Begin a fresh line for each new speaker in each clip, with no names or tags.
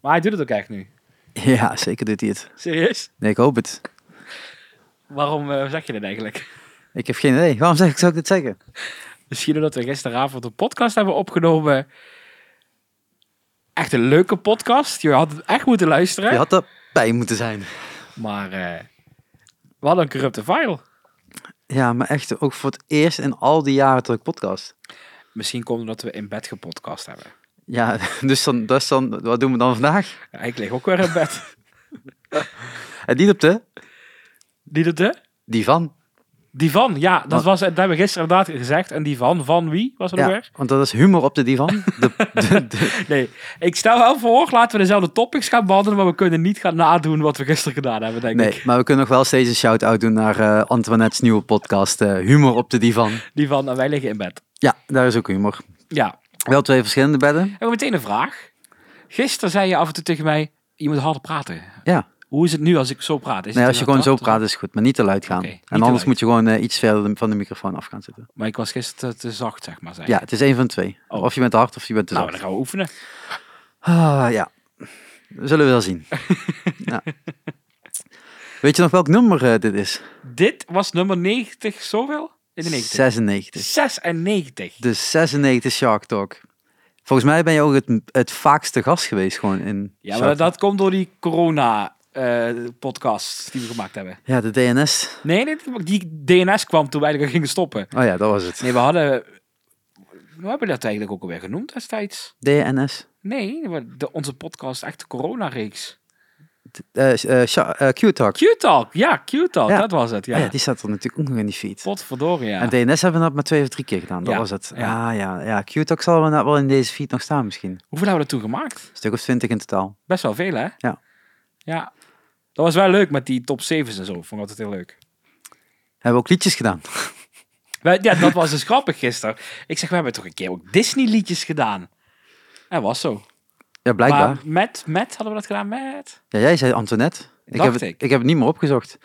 Maar hij doet het ook echt nu.
Ja, zeker doet hij het.
Serieus?
Nee, ik hoop het.
Waarom eh, zeg je dat eigenlijk?
Ik heb geen idee. Waarom zeg ik, zou ik dit zeggen?
Misschien omdat we gisteravond een podcast hebben opgenomen. Echt een leuke podcast. Je had het echt moeten luisteren.
Je had er bij moeten zijn.
Maar eh we hadden een corrupte file.
Ja, maar echt ook voor het eerst in al die jaren dat ik podcast.
Misschien komt het omdat we in bed gepodcast hebben.
Ja, dus dan, dus dan, wat doen we dan vandaag?
Ja, ik lig ook weer in bed.
En niet op de,
Die dat de?
die van.
Die van, ja, dat,
Wat?
was, dat hebben we gisteren inderdaad gezegd. En die van, van wie was het ook
Ja,
weer?
want dat is humor op de divan. De, de, de-
Nee, ik stel wel voor, laten we dezelfde topics gaan behandelen, maar we kunnen niet gaan nadoen wat we gisteren gedaan hebben, denk
nee,
ik.
maar we kunnen nog wel steeds een shout-out doen naar eh, Antoinette's nieuwe podcast, eh, Humor op de divan.
Die van, en wij liggen in bed.
Ja, daar is ook humor.
Ja,
Wel twee verschillende bedden.
en meteen een vraag. Gisteren zei je af en toe tegen mij, je moet harder praten.
Ja,
Hoe is het nu als ik zo praat? Is
nee,
het
als je
heel
gewoon zo
hard?
praat is het goed, maar niet te luid gaan.
Oké, niet te
en anders
luid.
moet je gewoon eh, iets verder van de microfoon af gaan zitten.
Maar ik was gisteren te, te zacht, zeg maar. Zei.
Ja, het is één van de twee.
Oh.
Of je bent te hard of je bent te
Nou,
zacht.
dan gaan we oefenen.
Ah, ja. Zullen we wel zien. ja. Weet je nog welk nummer eh, dit is?
Dit was nummer 90, zoveel? In de 90.
96.
96.
De 96 Shark Talk. Volgens mij ben je ook het, het vaakste gast geweest gewoon in
Ja, maar
Shark Talk.
dat komt door die corona-podcast die we gemaakt hebben.
Ja, de DNS.
Nee, nee, die DNS kwam toen wij eigenlijk gingen stoppen.
Oh ja, dat was het.
Nee, we hadden... We hebben dat eigenlijk ook alweer genoemd destijds.
DNS.
Nee, we- de, onze podcast, echt de corona-reeks.
Eh eh, Sha- eh, Q-Talk.
Q-Talk, ja, Q-Talk,
Ja.
dat was het. Ja,
Ah ja, die staat er natuurlijk ook nog in die feed.
potverdorie, ja.
En DNS hebben we dat maar twee of drie keer gedaan. Dat
Ja,
was het.
ja.
Ah ja, ja. Q-Talk zal wel nou wel in deze feed nog staan misschien. Een
Hoeveel hebben we er toen gemaakt?
stuk of twintig in totaal.
Best wel veel, hè?
Ja.
Ja. Dat was wel leuk met die top 7's en zo. Vond ik altijd heel leuk.
Hebben we ook liedjes gedaan.
Wij- Ja, dat was dus grappig gisteren. Ik zeg, we hebben toch een keer ook Disney-liedjes gedaan? En was zo.
Ja, blijkbaar.
Maar met, met hadden we dat gedaan met.
Ja, jij zei Antoinette. Ik
Dacht
heb, het,
ik.
ik. heb het niet meer opgezocht.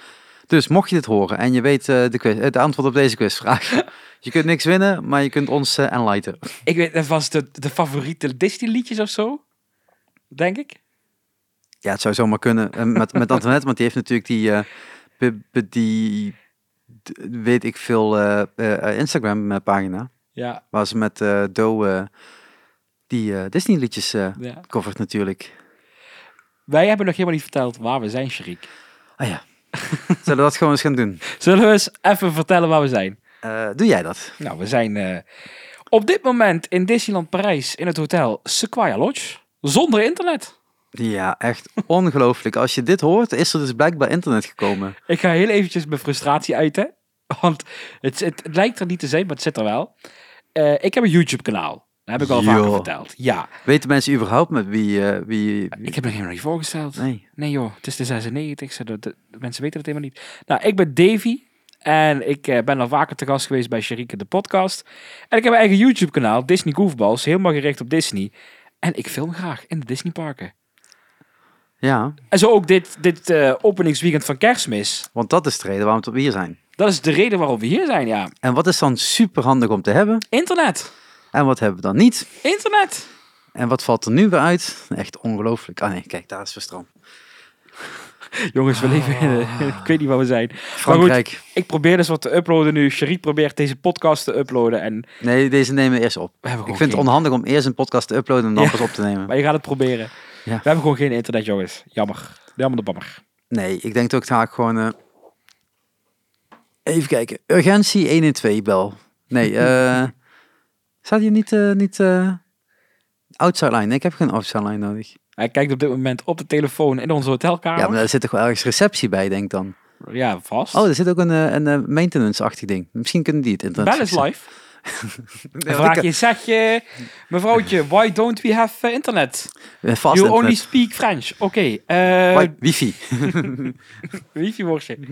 Dus mocht je dit horen en je weet eh, de quiz, het antwoord op deze quizvraag. je kunt niks winnen, maar je kunt ons eh, enlighten.
Ik weet, dat was de, de favoriete Disney-liedjes of zo. Denk ik.
Ja, het zou zomaar kunnen eh, met, met Antoinette, want die heeft natuurlijk die, eh, be- be- die d- weet ik veel, eh, eh, eh, Instagram eh, pagina.
Ja,
Waar ze met eh Do eh, die eh, Disney liedjes eh
ja.
covert natuurlijk.
Wij hebben nog helemaal niet verteld waar we zijn, Sharik.
Ah ja, zullen we dat gewoon eens gaan doen?
Zullen we eens even vertellen waar we zijn?
Eh, doe jij dat?
Nou, we zijn eh, op dit moment in Disneyland Parijs in het hotel Sequoia Lodge. Zonder internet.
Ja, echt ongelooflijk. Als je dit hoort, is er dus blijkbaar internet gekomen.
Ik ga heel eventjes mijn frustratie uiten. Want het, het, het lijkt er niet te zijn, maar het zit er wel. Eh, ik heb een YouTube-kanaal. Dat heb ik al vaker
Joh.
verteld. Ja.
Weten mensen überhaupt met wie... eh, wie, wie-
Ik heb me helemaal niet voorgesteld.
Nee.
Nee joh, het is de 96. ze- De, de- de mensen weten het helemaal niet. Nou, ik ben Davy. En ik eh, ben al vaker te gast geweest bij Sherike de podcast. En ik heb mijn eigen YouTube kanaal, Disney Goofballs. Helemaal gericht op Disney. En ik film graag in de Disney parken.
Ja,
En zo ook dit, dit eh, openingsweekend van kerstmis.
want dat is de reden waarom we hier zijn.
Dat is de reden waarom we hier zijn, ja.
En wat is dan super handig om te hebben?
Internet.
En wat hebben we dan niet?
Internet.
En wat valt er nu weer uit? Echt ongelooflijk. Ah nee, kijk, daar is Verstram.
Jongens, we leven in... eh, ik weet niet waar we zijn. Maar
Ah. Frankrijk.
goed, ik probeer dus wat te uploaden nu. Sherike probeert deze podcast te uploaden. En
Nee, deze nemen we eerst op.
we hebben
Ik
gewoon
vind het
geen-
onhandig om eerst een podcast te uploaden en dan
Ja.
pas op te nemen.
Maar je gaat het proberen. We hebben gewoon geen internet, jongens. Jammer. Jammer de bammer.
Nee, ik denk dat ik ga ik gewoon... eh, Even kijken. Urgentie 1 en 2 bel. Nee, eh... staat hier niet... eh, niet eh, Outside line. Nee, ik heb geen outside line nodig.
Hij kijkt op dit moment op de telefoon in onze hotelkamer.
Ja,
Ja,
maar daar zit toch wel ergens receptie bij, denk ik dan.
vast.
Oh, er zit ook een, eh, een eh, maintenance-achtig ding. Misschien kunnen die het internet
Bel is
fixen.
live.
Nee,
Dan
want
vraag je, zeg je, mevrouwtje, why don't we have eh, internet?
eh, Vast
you only
internet.
speak French. Oké, eh,
Wi- wifi.
wifi worstje. Ja,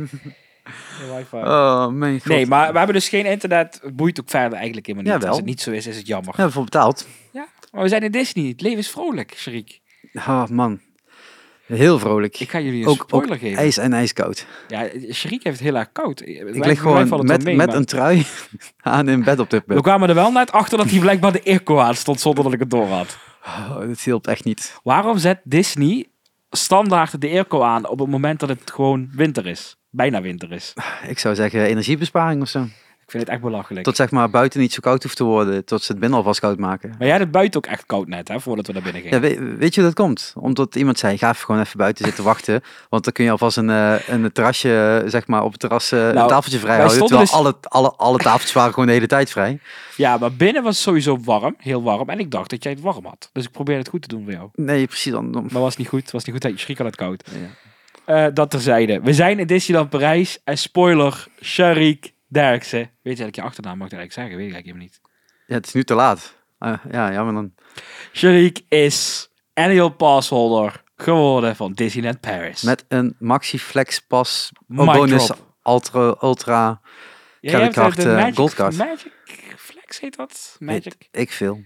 wifi.
Oh, mijn god.
nee, maar we hebben dus geen internet. Het boeit ook verder eigenlijk helemaal niet.
Jawel.
Als het niet zo is, is het jammer.
We hebben voor betaald.
Ja, maar we zijn in Disney. Het leven is vrolijk, Sharik.
Ah, man. Heel vrolijk.
Ik ga jullie een
ook,
spoiler
ook
geven.
ijs en ijskoud.
Ja, Sharik heeft het heel erg koud.
Ik lig gewoon met, met een trui aan in bed op dit
We
moment.
kwamen er wel net achter dat hij blijkbaar de airco aan stond zonder dat ik het door had.
Oh, dit hielp echt niet.
Waarom zet Disney standaard de airco aan op het moment dat het gewoon winter is? Bijna winter is.
Ik zou zeggen energiebesparing of zo.
Ik vind het echt belachelijk.
Tot zeg maar buiten niet zo koud hoeft te worden, tot ze het binnen alvast koud maken.
Maar jij had het buiten ook echt koud net, hè, voordat we naar binnen
Ja,
gingen.
weet, weet je hoe dat komt? Omdat iemand zei, ga even gewoon even buiten zitten wachten. Want dan kun je alvast een, eh, een terrasje, eh, zeg maar, op het terras eh,
Nou,
een tafeltje vrij
wij
houden. Terwijl
stonden dus-
alle, alle, alle tafeltjes waren gewoon de hele tijd vrij.
Ja, maar binnen was het sowieso warm, heel warm. En ik dacht dat jij het warm had. Dus ik probeerde het goed te doen voor jou.
Nee, precies. Dan, dan-
Maar was niet goed, was niet goed. Je schrik had het koud.
Ja.
Eh, dat terzijde. We zijn in Disneyland Parijs. En spoiler, Sharik Derksen. Weet je eigenlijk je achternaam? Mag ik dat eigenlijk zeggen? Weet ik eigenlijk helemaal niet.
ja, het is nu te laat. Eh, ja, ja, maar dan...
Sharik is annual passholder geworden van Disneyland Paris.
Met een Maxi Flex Pas
Mic
bonus
drop.
ultra, ultra
Ja, jij hebt de- de
creditcard, eh,
Magic-
goldcard.
Magic Flex heet dat? Magic?
weet ik veel. In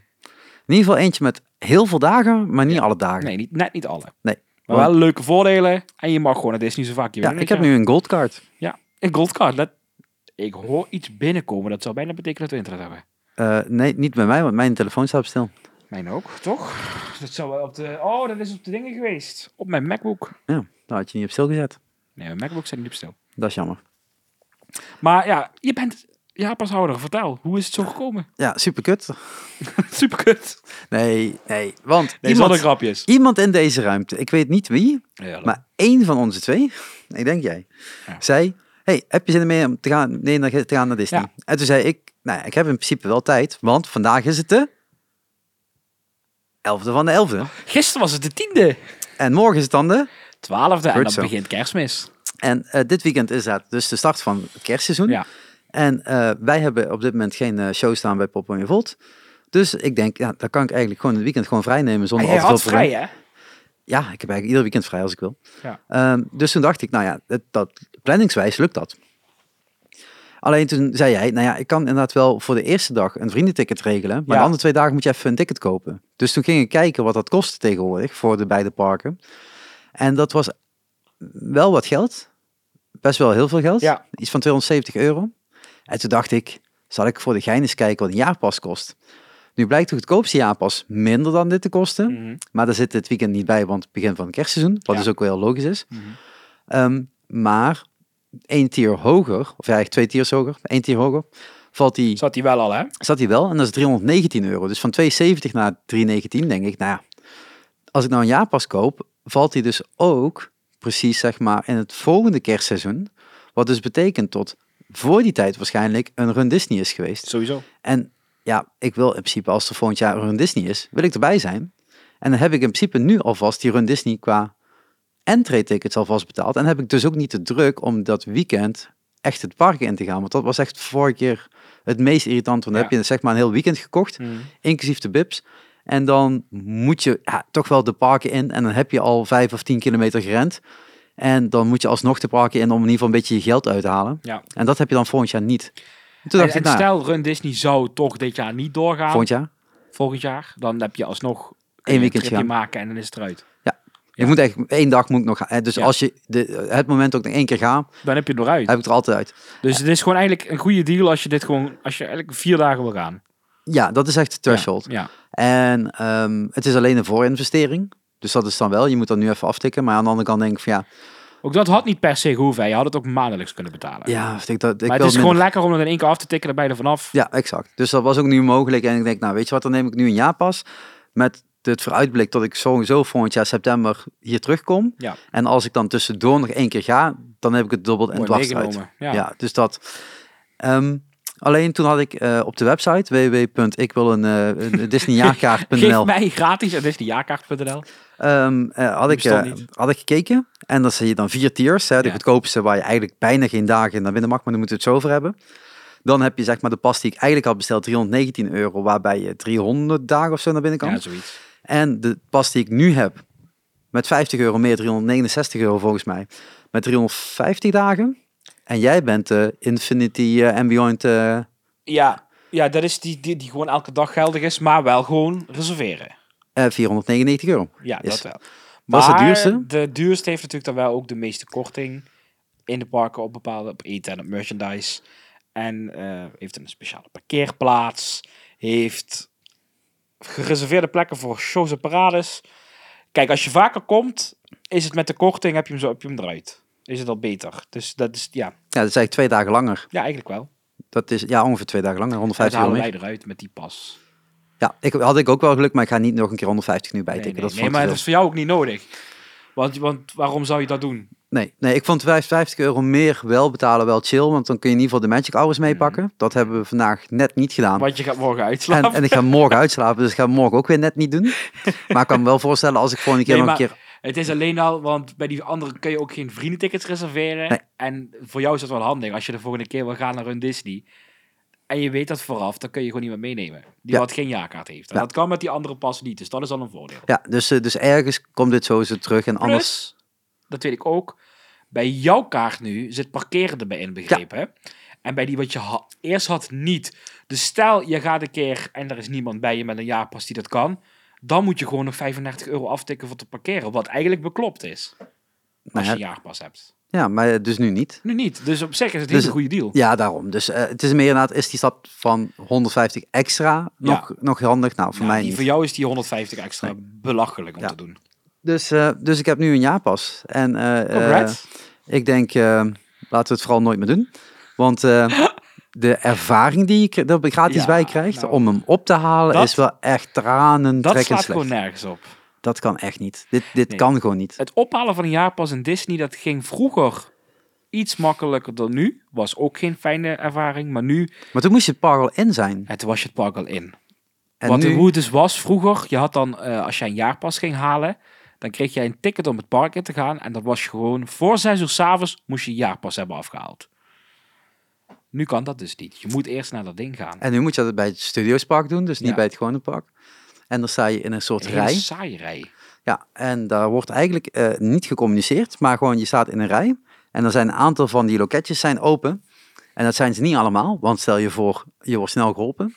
ieder geval eentje met heel veel dagen, maar niet alle dagen.
Nee, niet, net niet alle.
Nee.
Maar wel leuke voordelen. En je mag gewoon naar Disney zo vaak je
Ja,
wil,
ik
weet
heb nu een goldcard.
Ja, een goldcard. Dat... Ik hoor iets binnenkomen. Dat zou bijna betekenen dat we internet hebben.
Eh, nee, niet bij mij, want mijn telefoon staat op stil.
Mijn ook, toch? Dat zou wel op de... Oh, dat is op de dingen geweest. Op mijn MacBook.
Ja, dat had je niet op stil gezet.
Nee, mijn MacBook staat niet op stil.
Dat is jammer.
Maar ja, je bent Japanshouder. Vertel, hoe is het zo gekomen?
Ja, super kut.
Superkut.
Nee, nee, want
Nee, zonder
iemand,
grapjes.
iemand in deze ruimte, ik weet niet wie,
Ja, dat-
maar één van onze twee, ik denk jij,
Ja.
zei, hey, heb je zin mee om te gaan, nee, naar, te gaan naar Disney?
Ja.
En toen zei ik, nou, ja, ik heb in principe wel tijd, want vandaag is het de 11e van de
Oh.
11e.
Gisteren was het de tiende.
En morgen is het dan de...
Twaalfde. En
Goed
dan
zo.
begint kerstmis.
En eh, dit weekend is dat dus de start van het kerstseizoen.
Ja.
En eh, wij hebben op dit moment geen eh, show staan bij Pop en Volt. Dus ik denk, ja, dan kan ik eigenlijk gewoon het weekend gewoon vrij nemen
En
zonder
jij
al te
had
veel problemen.
Oh, vrij, hè?
Ja, ik heb eigenlijk ieder weekend vrij als ik wil.
Ja.
Ehm, dus toen dacht ik, nou ja, dat, dat, planningswijs lukt dat. Alleen toen zei jij, nou ja, ik kan inderdaad wel voor de eerste dag een vriendenticket regelen. Maar
Ja.
de andere twee dagen moet je even een ticket kopen. Dus toen ging ik kijken wat dat kostte tegenwoordig voor de beide parken. En dat was wel wat geld. Best wel heel veel geld.
Ja.
Iets van 270 euro. En toen dacht ik, zal ik voor de gein eens kijken wat een jaarpas kost. Nu blijkt de goedkoopste jaarpas minder dan dit te kosten.
Mhm.
Maar daar zit dit weekend niet bij, want het begin van het kerstseizoen, wat
Ja.
dus ook wel heel logisch is.
Mhm.
Ehm, maar één tier hoger, of ja, eigenlijk twee tiers hoger, één tier hoger, valt die,
Zat hij wel al, hè?
zat die wel en dat is 319 euro. Dus van 270 naar 319 denk ik, nou ja, als ik nou een jaarpas koop, valt die dus ook precies zeg maar in het volgende kerstseizoen. Wat dus betekent tot voor die tijd waarschijnlijk een run Disney is geweest.
Sowieso.
En ja, ik wil in principe als er volgend jaar een Run Disney is, wil ik erbij zijn. En dan heb ik in principe nu alvast die Run Disney qua entree tickets alvast betaald. En heb ik dus ook niet de druk om dat weekend echt het park in te gaan. Want dat was echt vorige keer het meest irritant. Want dan
Ja.
heb je zeg maar een heel weekend gekocht,
Mm.
inclusief de bibs. En dan moet je ja, toch wel de parken in. En dan heb je al vijf of tien kilometer gerend. En dan moet je alsnog de parken in om in ieder geval een beetje je geld uit te halen.
Ja.
En dat heb je dan volgend jaar niet. En Toen
En,
dacht
en
ik, nou,
stel, Run Disney zou toch dit jaar niet doorgaan.
volgend jaar.
volgend jaar. Dan heb je alsnog
Eén
een
weekendje
tripje
gaan.
maken en dan is het eruit.
Ik moet echt één dag moet ik nog gaan. Hè, Dus
Ja.
als je de, het moment ook nog één keer ga,
Dan heb je het eruit.
heb ik er altijd uit.
Dus het is gewoon eigenlijk een goede deal als je dit gewoon, als je eigenlijk vier dagen wil gaan.
Ja, dat is echt de threshold.
Ja.
En ehm, het is alleen een voorinvestering. Dus dat is dan wel. Je moet dat nu even aftikken. Maar aan de andere kant denk ik van ja,
ja. Ook dat had niet per se gehoeven. hè. Je had het ook maandelijks kunnen betalen.
ja ik, dat, ik
maar
wil
het is
minder-
gewoon lekker om het in één keer af te tikken en bij er vanaf.
Ja, exact. Dus dat was ook nu mogelijk. En ik denk, nou weet je wat, dan neem ik nu een jaarpas. Met het vooruitblik dat ik sowieso volgend jaar september hier terugkom.
Ja.
En als ik dan tussendoor nog één keer ga, dan heb ik het dubbel en
Mooi
dwars uit.
meegenomen.
Ja.
Ja.
dus dat. Ehm, alleen toen had ik eh, op de website
Geef
eh, www.ikwileendisneyjaarkaart.nl
mij gratis, dat is die jaarkaart.nl.
ehm eh, had,
Die
ik, eh,
bestond niet.
had ik gekeken. En dan zie je dan vier tiers. Hè, de
Ja.
goedkoopste waar je eigenlijk bijna geen dagen naar binnen mag, maar dan moeten we het zo over hebben. Dan heb je zeg maar de pas die ik eigenlijk had besteld, 319 euro, waarbij je 300 dagen of zo naar binnen kan.
Ja, zoiets.
En de pas die ik nu heb, met 50 euro meer, 369 euro volgens mij, met 350 dagen. En jij bent de Infinity eh, and Beyond. eh,
Ja, ja dat is die, die, die gewoon elke dag geldig is, maar wel gewoon reserveren.
eh, 499 euro.
Ja,
Yes.
dat wel.
Dat is het duurste.
De duurste heeft natuurlijk dan wel ook de meeste korting in de parken op bepaalde op eten en op merchandise. En eh, heeft een speciale parkeerplaats. Heeft gereserveerde plekken voor shows en parades. Kijk, als je vaker komt, is het met de korting, heb je hem, zo, heb je hem eruit. Is het al beter. Dus dat is, ja,
dat is eigenlijk twee dagen langer.
ja eigenlijk wel.
Dat is ja, ongeveer twee dagen langer,
Dat
150 euro
halen
meer.
wij eruit met die pas.
Ja, ik, had ik ook wel geluk, maar ik ga niet nog een keer 150 nu
Nee,
bijtikken.
nee,
dat is
nee,
veel
maar
te
dat is voor jou ook niet nodig. Want, want waarom zou je dat doen?
Nee, nee, ik vond 55 euro meer wel betalen wel chill, want dan kun je in ieder geval de Magic Hours meepakken. Dat hebben we vandaag net niet gedaan.
Want je gaat morgen uitslapen.
En, en ik ga morgen uitslapen, dus ik ga morgen ook weer net niet doen. Maar ik kan me wel voorstellen als ik volgende keer
Nee,
nog een
maar-
keer...
Het is alleen al, want bij die andere kun je ook geen vriendentickets reserveren.
Nee.
En voor jou is dat wel handig. Als je de volgende keer wil gaan naar een Disney. En je weet dat vooraf, dan kun je gewoon iemand meenemen. Die
Ja.
wat geen jaarkaart heeft. En
Ja.
dat kan met die andere pas niet. Dus dat is al een voordeel.
Ja, dus, eh, dus ergens komt dit sowieso terug en anders...
Plus, dat weet ik ook. Bij jouw kaart nu zit parkeren erbij inbegrepen. hè? En bij die wat je ha- eerst had niet. Dus stel, je gaat een keer en er is niemand bij je met een jaarpas die dat kan. Dan moet je gewoon nog 35 euro aftikken voor te parkeren. Wat eigenlijk beklopt is. Als
Nou
je
ja,
een jaarpas hebt.
ja, maar eh, dus nu niet.
Nu niet. Dus op zich is het
Dus-
niet een goede deal.
Ja, daarom. Dus eh, het is meer inderdaad, is die stap van 150 extra nog, nog handig? Nou, voor
Ja,
mij
die
niet.
voor jou is die 150 extra belachelijk om
Ja.
te doen.
Dus, eh, dus ik heb nu een jaarpas. En eh, eh,
Congrats.
ik denk, eh, laten we het vooral nooit meer doen. Want eh, de ervaring die je kri- er gratis
Ja,
bij krijgt
nou,
om hem op te halen,
dat-
is wel echt tranen
dat
trekken
slaat
slecht.
gewoon nergens op.
Dat kan echt niet. Dit, dit
Nee.
kan gewoon niet.
Het ophalen van een jaarpas in Disney, dat ging vroeger iets makkelijker dan nu. Was ook geen fijne ervaring. Maar nu,
Maar toen moest je het park al in zijn.
het was je het park al in.
En
Wat
nu,
hoe het dus was vroeger, je had dan, eh, als jij een jaarpas ging halen, dan kreeg jij een ticket om het park in te gaan. En dat was gewoon, voor zes uur s'avonds moest je je jaarpas hebben afgehaald. Nu kan dat dus niet. Je moet eerst naar dat ding gaan.
en nu moet je dat bij het Studiospark doen, dus niet
Ja.
bij het gewone park. En dan sta je in een soort
Een hele
rij.
saaie rij.
Ja, en daar wordt eigenlijk eh, niet gecommuniceerd, maar gewoon je staat in een rij. En er zijn een aantal van die loketjes zijn open. En dat zijn ze niet allemaal, want stel je voor, je wordt snel geholpen.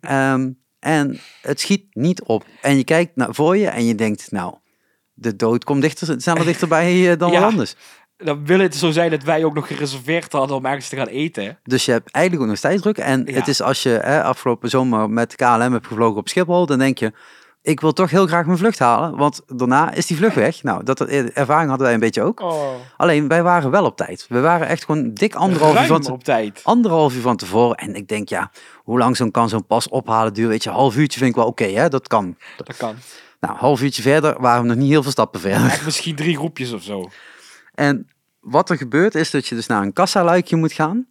Ehm, en het schiet niet op. En je kijkt naar voor je en je denkt, nou, de dood komt dichter, sneller dichterbij eh, dan
Ja.
wat anders.
dan wil het zo zijn dat wij ook nog gereserveerd hadden om ergens te gaan eten.
Dus je hebt eigenlijk ook nog steeds druk. En
Ja.
het is als je hè, afgelopen zomer met KLM hebt gevlogen op Schiphol, dan denk je, ik wil toch heel graag mijn vlucht halen, want daarna is die vlucht weg. Nou, dat eh, ervaring hadden wij een beetje ook.
Oh.
Alleen, wij waren wel op tijd. We waren echt gewoon dik anderhalf uur, van te-
op tijd.
anderhalf uur van tevoren. En ik denk, ja, hoe lang zo'n kan zo'n pas ophalen duren? Weet je, een half uurtje vind ik wel oké, hè? Dat kan.
Dat kan.
Nou, een half uurtje verder waren we nog niet heel veel stappen verder.
Echt misschien drie groepjes of zo.
En wat er gebeurt is dat je dus naar een kassaluikje moet gaan.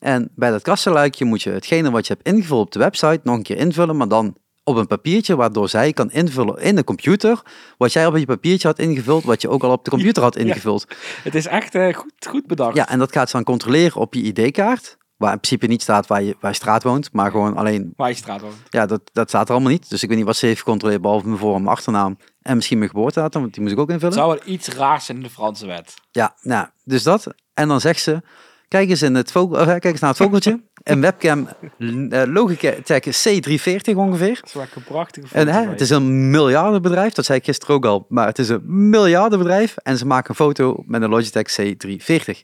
En bij dat kassaluikje moet je hetgene wat je hebt ingevuld op de website nog een keer invullen, maar dan op een papiertje waardoor zij kan invullen in de computer wat jij op je papiertje had ingevuld, wat je ook al op de computer had ingevuld.
Het is echt eh, goed, goed bedacht.
Ja, en dat gaat ze dan controleren op je ID-kaart. Waar in principe niet staat waar je, waar je straat woont, maar gewoon alleen...
Waar je straat woont.
Ja, dat, dat staat er allemaal niet. Dus ik weet niet wat ze heeft gecontroleerd, behalve mijn voor- en mijn achternaam. En misschien mijn geboortedatum, want die moest ik ook invullen.
Het zou wel iets raars zijn in de Franse wet.
Ja, nou, dus dat. En dan zegt ze, kijk eens, in het vogel, eh, kijk eens naar het vogeltje. een webcam eh, Logitech C340 ongeveer.
Dat is wel een prachtige
En,
foto
hè,
van
het
je.
is een miljardenbedrijf, dat zei ik gisteren ook al. Maar het is een miljardenbedrijf en ze maken een foto met een Logitech C340.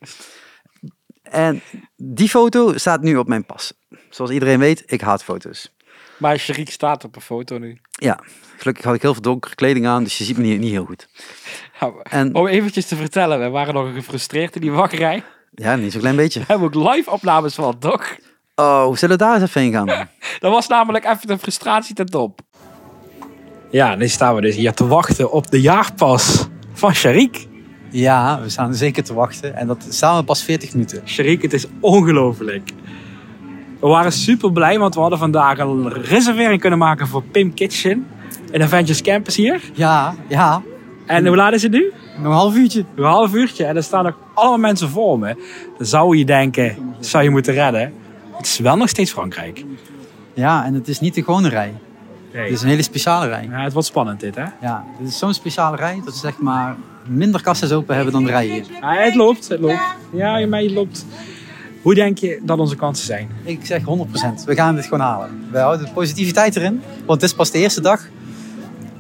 En die foto staat nu op mijn pas. Zoals iedereen weet, ik haat foto's.
Maar Sherik staat op een foto nu.
Ja, gelukkig had ik heel veel donkere kleding aan, dus je ziet me niet, niet heel goed.
Ja, maar-
En
Om eventjes te vertellen, we waren nog gefrustreerd in die wachtrij. We
ja, niet zo'n klein beetje.
hebben ook live opnames van, toch?
Oh, zullen we daar eens even heen gaan?
Dat was namelijk even de frustratie ten top.
Ja, nu staan we dus hier te wachten op de jaarpas van Sharik.
Ja, we staan zeker te wachten. En dat samen pas 40 minuten.
Sharik, het is ongelooflijk. We waren super blij, want we hadden vandaag een reservering kunnen maken voor Pim Kitchen in Avengers Campus hier.
Ja, ja.
En hoe laat is het nu?
Nog een half uurtje.
Een half uurtje en er staan nog allemaal mensen voor me. Dan zou je denken, zou je moeten redden. Het is wel nog steeds Frankrijk.
Ja, en het is niet de gewone rij. Het is een hele speciale rij.
Ja, eh, het wordt spannend dit, hè?
Ja, het is zo'n speciale rij dat ze zeg maar minder kassa's open hebben dan de rij hier.
Ja, het loopt, het loopt. Ja, maar het loopt. Hoe denk je dat onze kansen zijn?
Ik zeg 100%, we gaan dit gewoon halen. We houden de positiviteit erin, want dit is pas de eerste dag.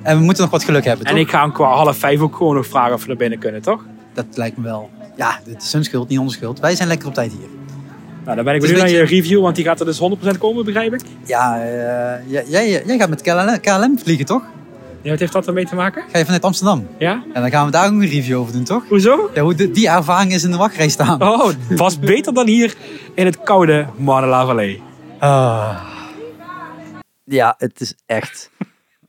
En we moeten nog wat geluk hebben, toch?
En ik ga hem qua half vijf ook gewoon nog vragen of we naar binnen kunnen, toch?
Dat lijkt me wel. Ja, dit is hun schuld, niet onze schuld. Wij zijn lekker op tijd hier.
Nou, dan ben ik
Het is
benieuwd naar
een
je review, want die gaat er dus 100% komen, begrijp ik.
Ja, eh, jij, jij, jij gaat met KLM, KLM vliegen, toch?
Ja, wat heeft dat ermee te maken?
Ga je vanuit Amsterdam.
Ja?
En dan gaan we daar ook een review over doen, toch?
Hoezo?
Ja, hoe de- die ervaring is in de wachtrij staan.
Oh, was beter dan hier in het koude Marla Valley.
Oh.
Ah. Ja, het is echt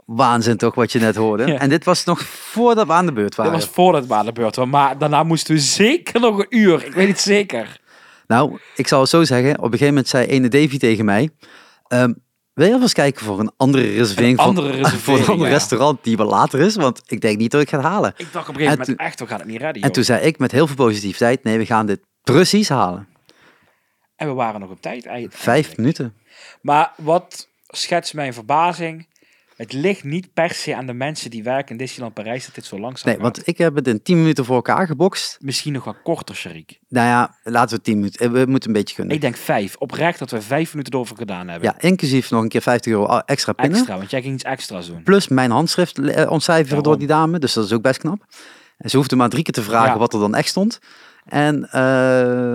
waanzin toch wat je net hoorde.
Ja.
En dit was nog voordat we aan de beurt
Dit
waren.
was voor het Walenbeurt, hoor, maar daarna moesten we zeker nog een uur. Ik weet het zeker.
Nou, ik zal het zo zeggen. Op een gegeven moment zei ene Davy tegen mij... ehm, wil je alvast kijken voor een andere reservering? voor-
andere
Voor
reservering,
een ander
ja.
restaurant die wel later is. Want ik denk niet dat ik het ga halen.
Ik dacht op een gegeven
En
moment, echt, we gaan het niet redden, joh.
En toen zei ik met heel veel positiviteit... Nee, we gaan dit precies halen.
En we waren nog op tijd. eigenlijk.
Vijf minuten.
Maar wat schetst mijn verbazing? Het ligt niet per se aan de mensen die werken in Disneyland Parijs dat dit zo langzaam
Nee,
gaat.
want ik heb het in tien minuten voor elkaar gebokst.
Misschien nog wat korter, Sharik.
Nou ja, laten we tien minuten... We moeten een beetje kunnen.
Ik denk vijf. Oprecht dat we vijf minuten erover gedaan hebben.
Ja, inclusief nog een keer 50 euro extra pinnen.
extra, want jij ging iets extra's doen.
Plus mijn handschrift eh, ontcijferen
Daarom.
door die dame. Dus dat is ook best knap. En ze hoefde maar drie keer te vragen
Ja.
wat er dan echt stond. En, eh,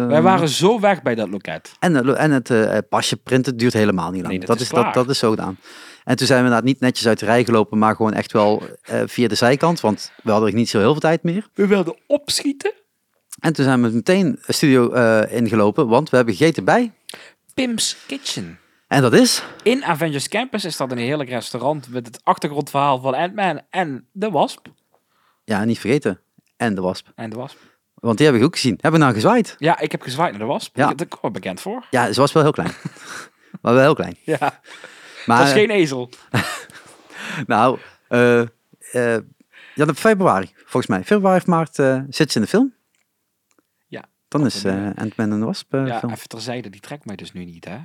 Wij waren zo weg bij dat loket.
en, het- en het eh, pasje printen duurt helemaal niet lang.
Nee, dat
dat,
is
is
klaar.
dat, dat is zo gedaan. En toen zijn we inderdaad niet netjes uit de rij gelopen, maar gewoon echt wel eh, via de zijkant. Want we hadden niet zo heel veel tijd meer.
We wilden opschieten.
En toen zijn we meteen een studio eh, ingelopen, want we hebben gegeten bij.
Pim's Kitchen.
En dat is
In Avengers Campus is dat een heerlijk restaurant met het achtergrondverhaal van Ant-Man en de wasp.
Ja, niet vergeten. En de wasp.
En de wasp.
Want die hebben we ook gezien. Hebben we nou gezwaaid?
Ja, ik heb gezwaaid naar de wasp.
Ja.
Ja. Daar kwam ik bekend voor.
Ja, ze was wel heel klein. maar wel heel klein.
Ja,
Maar,
dat is geen ezel.
Nou, eh, eh, ja, dat februari, volgens mij. Februari of maart eh, zit ze in de film.
Ja,
Dan is
een,
eh Ant-Man en de Wasp eh,
Ja,
film.
even terzijde, die trekt mij dus nu niet, hè?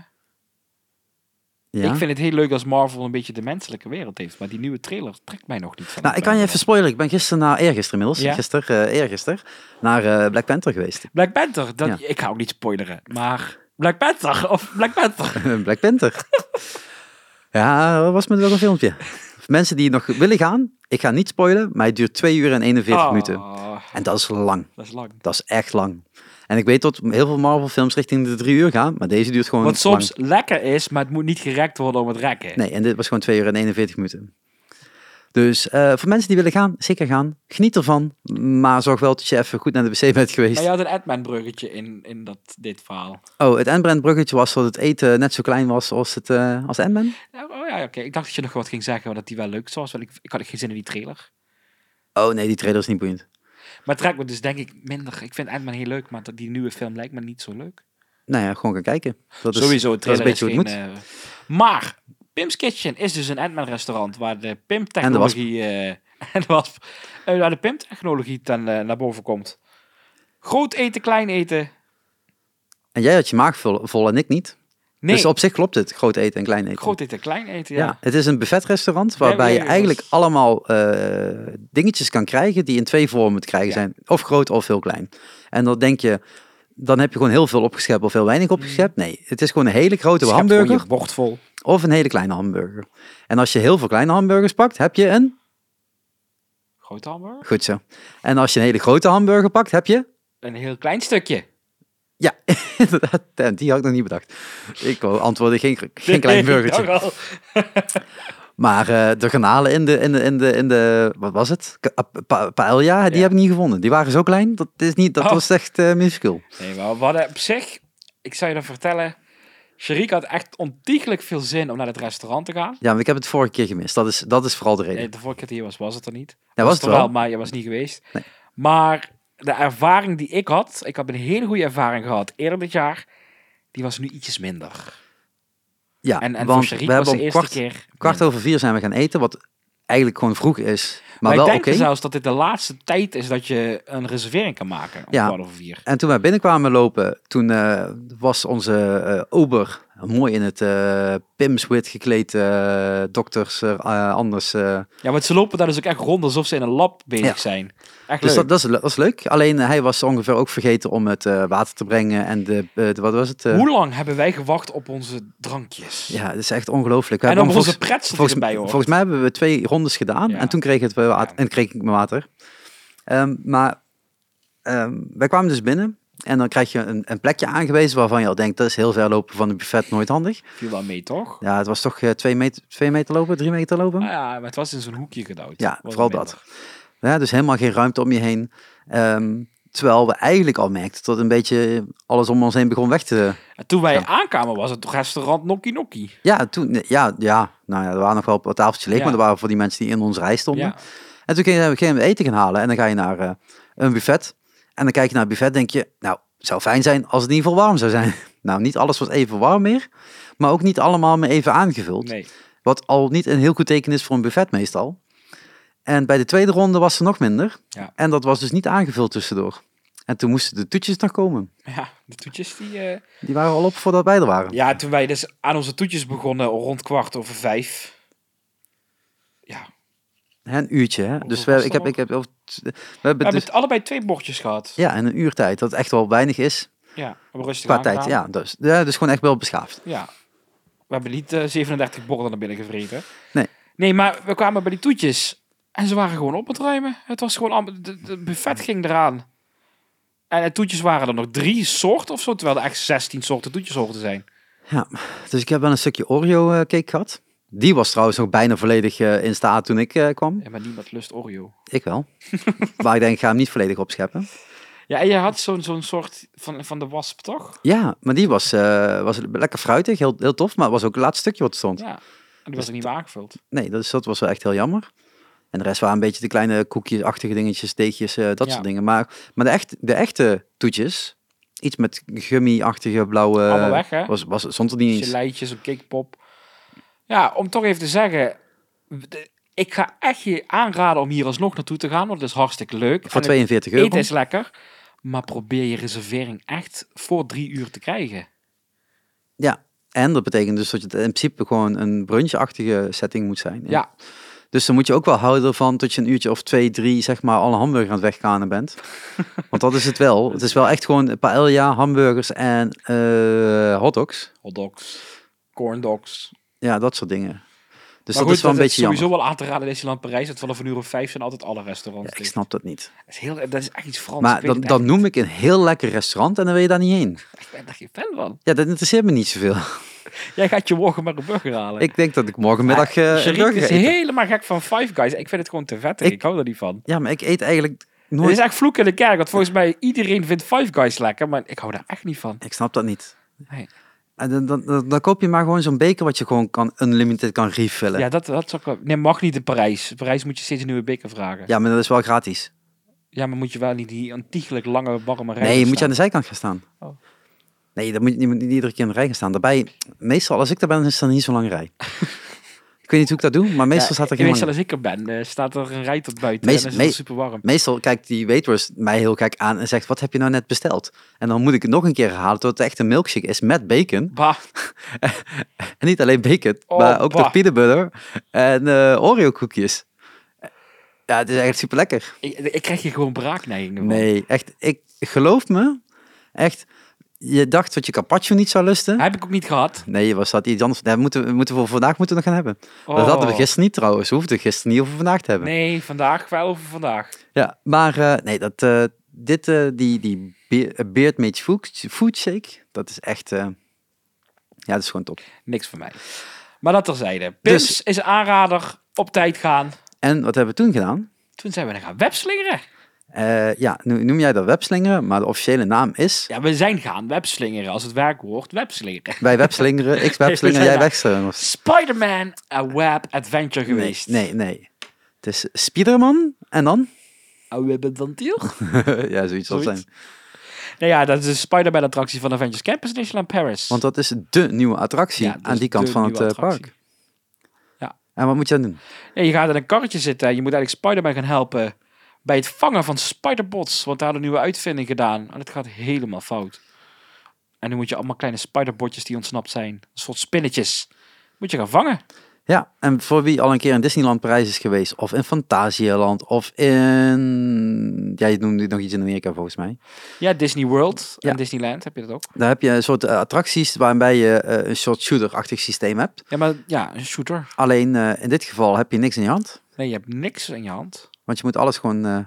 Ja.
Ik vind het heel leuk als Marvel een beetje de menselijke wereld heeft, maar die nieuwe trailer trekt mij nog niet. Van
Nou, ik kan je even spoileren. Ik ben gisteren, naar eergisteren inmiddels,
Ja.
gisteren, eh eergisteren, naar eh, Black Panther geweest.
Black Panther, dat,
Ja.
ik ga ook niet spoileren, maar Black Panther of Black Panther.
Black Panther. ja, dat was me wel een filmpje. Voor mensen die nog willen gaan, ik ga niet spoilen, maar het duurt 2 uur en 41
Oh,
minuten. En dat is lang.
Dat is lang.
Dat is echt lang. En ik weet dat heel veel Marvel films richting de 3 uur gaan, maar deze duurt gewoon
Wat
lang.
soms lekker is, maar het moet niet gerekt worden om het rekken.
Nee, en dit was gewoon 2 uur en 41 minuten. Dus eh, voor mensen die willen gaan, zeker gaan. Geniet ervan. Maar zorg wel dat je even goed naar de wc bent geweest.
Maar je had een Edman bruggetje in, in dat, dit verhaal.
Oh, het Endbrand bruggetje was dat het eten net zo klein was als het eh als Endman.
Nou, oh ja, oké. Ik dacht dat je nog wat ging zeggen, dat die wel leuk was, want ik, ik had geen zin in die trailer.
Oh nee, die trailer is niet boeiend.
Maar het trekt me dus denk ik minder. Ik vind Edman heel leuk, maar dat- die nieuwe film lijkt me niet zo leuk.
Nou ja, gewoon gaan kijken. Dat is,
Sowieso, het
dat is
trailer
een
is,
beetje hoe het
geen, eh, maar Pim's Kitchen is dus een Ant-Man restaurant waar de Pim technologie eh, en de wasp, eh, waar de Pim technologie ten, eh, naar boven komt. Groot eten, klein eten.
En jij had je maag vol, vol en ik niet.
eh, Nee,
Dus op zich klopt het, groot eten en klein eten.
groot eten, klein eten.
ja.
Ja.
het is een buffetrestaurant waarbij
ja,
je
ja,
eigenlijk
dat is-
allemaal eh, dingetjes kan krijgen die in twee vormen te krijgen
Ja.
zijn. Of groot of heel klein. En dan denk je, dan heb je gewoon heel veel opgeschept of heel weinig opgeschept. Nee, het is gewoon een hele grote
Dus je hebt gewoon
hamburger
Mm. je bord vol.
of een hele kleine hamburger. En als je heel veel kleine hamburgers pakt, heb je een...
Grote hamburger.
Goed zo. En als je een hele grote hamburger pakt, heb je...
Een heel klein stukje.
Ja, inderdaad. Damn, Die had ik nog niet bedacht. Ik wou antwoorden, geen, geen
Nee,
klein burgertje.
daar al.
Maar eh, de granalen in de, in de, in de, in de, wat was het? K- ah, pa- Paella, die
Ja.
heb ik niet gevonden. Die waren zo klein, dat, is niet, dat
Oh.
was echt eh minuscuul.
Nee, maar we hadden op zich, ik zou je dan vertellen, Sharik had echt ontiegelijk veel zin om naar het restaurant te gaan.
Ja, maar ik heb het vorige keer gemist. Dat is, dat is vooral de reden.
Nee, de vorige keer dat je hier was, was het er niet.
Ja, was het
er
wel.
maar je was niet geweest. Maar de ervaring die ik had, ik heb een hele goede ervaring gehad eerder dit jaar, die was nu ietsjes minder.
ja,
En, en voor
want
Sharik was
we hebben
de
om
eerste
kwart,
keer...
kwart over vier zijn we gaan eten, wat eigenlijk gewoon vroeg is. Maar,
maar ik
wel oké.
denk zelfs dat dit de laatste tijd is dat je een reservering kan maken. Om
Ja.
kwart over vier.
En toen wij binnenkwamen lopen, toen eh, was onze eh, ober mooi in het eh Pimswit gekleed eh, dokters eh, anders. eh.
Ja, want ze lopen daar dus ook echt rond alsof ze in een lab bezig
Ja.
zijn. Echt
dus
leuk.
dat, dat, is, le- dat is leuk. Alleen eh, hij was ongeveer ook vergeten om het eh, water te brengen en de, eh, de- wat was het? eh,
Hoe lang hebben wij gewacht op onze drankjes?
Ja, dat is echt ongelooflijk. We
en
hebben
op
hem
onze
volgens-
pretzel die
volgens,
erbij hoor.
volgens mij hebben we twee rondes gedaan
Ja.
en toen kreeg, het wel wat-
Ja.
en kreeg ik mijn water. Ehm, maar ehm, wij kwamen dus binnen En dan krijg je een, een plekje aangewezen waarvan je al denkt, dat is heel ver lopen van een buffet, nooit handig.
Viel wel mee, toch?
Ja, het was toch eh, twee, meter, twee meter lopen, drie meter lopen?
Ah ja, maar het was in zo'n hoekje gedouwd.
Ja,
Was
vooral
minder.
dat. Ja, dus helemaal geen ruimte om je heen. Ehm, terwijl we eigenlijk al merkten dat een beetje alles om ons heen begon weg te...
En toen wij
Ja.
aankwamen was het restaurant Nokkie Nokkie.
Ja, toen, nee, ja, ja, nou ja, er waren nog wel wat tafeltjes leeg,
Ja.
maar er waren voor die mensen die in onze rij stonden.
Ja.
En toen gingen we gingen we eten gaan halen en dan ga je naar eh, een buffet. En dan kijk je naar het buffet, denk je, nou, het zou fijn zijn als het in ieder geval warm zou zijn. Nou, niet alles was even warm meer, maar ook niet allemaal meer even aangevuld.
Nee.
Wat al niet een heel goed teken is voor een buffet meestal. En bij de tweede ronde was er nog minder.
Ja.
En dat was dus niet aangevuld tussendoor. En toen moesten de toetjes nog komen.
Ja, de toetjes die... eh,
Die waren al op voordat wij er waren.
Ja, toen wij dus aan onze toetjes begonnen rond kwart over vijf. Ja,
Hè, Een uurtje, hè? Dus we,
was
ik
dat
heb, ik heb, we hebben
we hebben
dus,
het allebei twee bordjes gehad.
ja, in een uurtijd, dat echt wel weinig is.
Ja, we hebben rustig
Qua tijd,
aangedaan.
ja dus, ja. dus gewoon echt wel beschaafd.
Ja. We hebben niet eh, 37 borden naar binnen gevreten.
Nee.
Nee, maar we kwamen bij die toetjes. En ze waren gewoon op het ruimen. Het was gewoon... am- de- de- Het buffet ging eraan. En de toetjes waren er nog drie soorten of zo. Terwijl er echt 16 soorten toetjes horen te zijn.
Dus ik heb wel een stukje Oreo eh, cake gehad. Die was trouwens nog bijna volledig eh, in staat toen ik eh, kwam.
Ja, maar niemand lust Oreo.
Ik wel. maar ik denk, ik ga hem niet volledig opscheppen.
Ja, en je had zo'n zo'n soort van, van de wasp, toch?
Ja, maar die was, eh, was lekker fruitig, heel, heel tof. Maar het was ook het laatste stukje wat er stond.
Ja. En die was er niet meer aangevuld.
Nee, dat, is, dat was wel echt heel jammer. En de rest waren een beetje de kleine koekjesachtige dingetjes, teegjes, eh, dat
Ja.
soort dingen. Maar, maar de, echt, de echte toetjes, iets met gummy-achtige blauwe...
Allemaal weg, hè?
Was, was, stond er niet eens.
Geleitjes, een kickpop. Ja, om toch even te zeggen... de- Ik ga echt je aanraden om hier alsnog naartoe te gaan, want het is hartstikke leuk.
Voor
En het
42 euro.
Eten is lekker, maar probeer je reservering echt voor drie uur te krijgen.
Ja, en dat betekent dus dat je in principe gewoon een brunchachtige setting moet zijn.
Ja.
Dus dan moet je ook wel houden van dat je een uurtje of twee, drie, zeg maar, alle hamburger aan het wegkanen bent. Want dat is het wel. Het is wel echt gewoon paella, hamburgers en eh hotdogs.
Hotdogs, corndogs.
Ja, dat soort dingen. Dus
maar
dat
goed,
is wel een beetje jammer.
sowieso wel aan te raden in Disneyland Parijs. Dat vanaf een uur of vijf zijn altijd alle restaurants.
Ja, ik
dicht.
snap dat niet.
dat, is heel, dat is echt iets Frans.
Maar dan, dan noem ik een heel lekker restaurant en dan wil je daar niet heen.
ik ben daar geen fan van.
Ja, dat interesseert me niet zoveel.
Jij gaat je morgen maar een burger halen.
Ik denk dat ik morgenmiddag eh, een
Sharik
burger
is
eet.
helemaal gek van Five Guys. Ik vind het gewoon te vettig. Ik,
Ik-
hou er niet van.
Ja, maar ik eet eigenlijk
Het is
nooit...
echt vloek in de kerk. Want volgens mij iedereen vindt Five Guys lekker. Maar ik hou daar echt niet van.
Ik snap dat niet.
Nee.
En dan, dan, dan, dan koop je maar gewoon zo'n beker wat je gewoon kan unlimited kan refillen.
Ja,
Ja,
dat, dat zou ik wel- Nee, mag niet in Parijs. In Parijs moet je steeds een nieuwe beker vragen.
maar dat is wel gratis.
Ja, maar moet je wel niet die ontiegelijk lange warme rij
nee, je
staan.
moet je aan de zijkant gaan staan.
Oh.
Nee, dan moet je, je moet niet iedere keer in de rij gaan staan. Daarbij, meestal als ik daar ben, is er niet zo'n lange rij. ik weet niet hoe ik dat doe, maar meestal
Ja,
staat er geen
Meestal
lange-
als ik er ben, eh, staat er een rij tot buiten
Meest-
en dan is
me-
het super warm.
Meestal kijkt die waitress mij heel gek aan en zegt, wat heb je nou net besteld? En dan moet ik het nog een keer herhalen tot het echt een milkshake is met bacon.
Bah,
En niet alleen bacon,
Oh,
maar ook
bah.
nog peanut butter en eh, Oreo koekjes. Ja, het is eigenlijk super lekker.
ik, ik krijg hier gewoon braakneigingen van.
Nee, echt. Ik geloof me. Echt. Je dacht dat je carpaccio niet zou lusten.
Heb ik ook niet gehad.
Nee, was dat iets anders. Daar moeten, we moeten we voor vandaag moeten we nog gaan hebben. Dat
Oh.
hadden we gisteren niet trouwens. We hoefden het gisteren niet over vandaag te hebben.
Nee, vandaag wel over vandaag.
Ja, maar eh, nee, dat, eh, dit, eh, die, die be- eh, Beard Mage Food, food Shake, dat is echt... eh, ja, dat is gewoon top.
Niks van mij. Maar dat terzijde. Pims
Dus-
is een aanrader. Op tijd gaan.
En wat hebben we toen gedaan?
Toen zijn we gaan webslingeren.
Eh, ja, nu noem jij dat webslingeren, maar de officiële naam is...
Ja, we zijn gaan webslingeren. Als het werkwoord webslingeren.
Wij webslingeren, ik
zijn
webslingeren, jij
daar-
wegslingeren.
Spider-Man, a web adventure
Nee,
geweest.
nee, nee. Het is Spiderman en dan?
Oh, we hebben dan deal.
ja, zoiets zal
Zoiets.
het zijn.
Nou ja, dat is de Spider-Man attractie van Avengers Campus Disneyland Paris.
Want dat is de nieuwe attractie
Ja, dat
aan
is
die kant
de
van het
nieuwe
eh, park.
attractie. Ja.
En wat moet je dan doen?
Ja, je gaat in een karretje zitten en je moet eigenlijk Spider-Man gaan helpen bij het vangen van spiderbots. Want daar hadden een nieuwe uitvinding gedaan. En het gaat helemaal fout. En nu moet je allemaal kleine spiderbotjes die ontsnapt zijn. Een soort spinnetjes. Moet je gaan vangen.
Ja, en voor wie al een keer in Disneyland Parijs is geweest, of in Fantasieland, of in... Jij noemde nog iets in Amerika volgens mij.
Ja, Disney World en
Ja.
Disneyland heb je dat ook.
Daar heb je een soort eh, attracties waarbij je eh, een soort shooter-achtig systeem hebt.
Ja, maar ja, een shooter.
Alleen eh, in dit geval heb je niks in je hand,
Nee, je hebt niks in je hand.
want je moet alles gewoon... eh,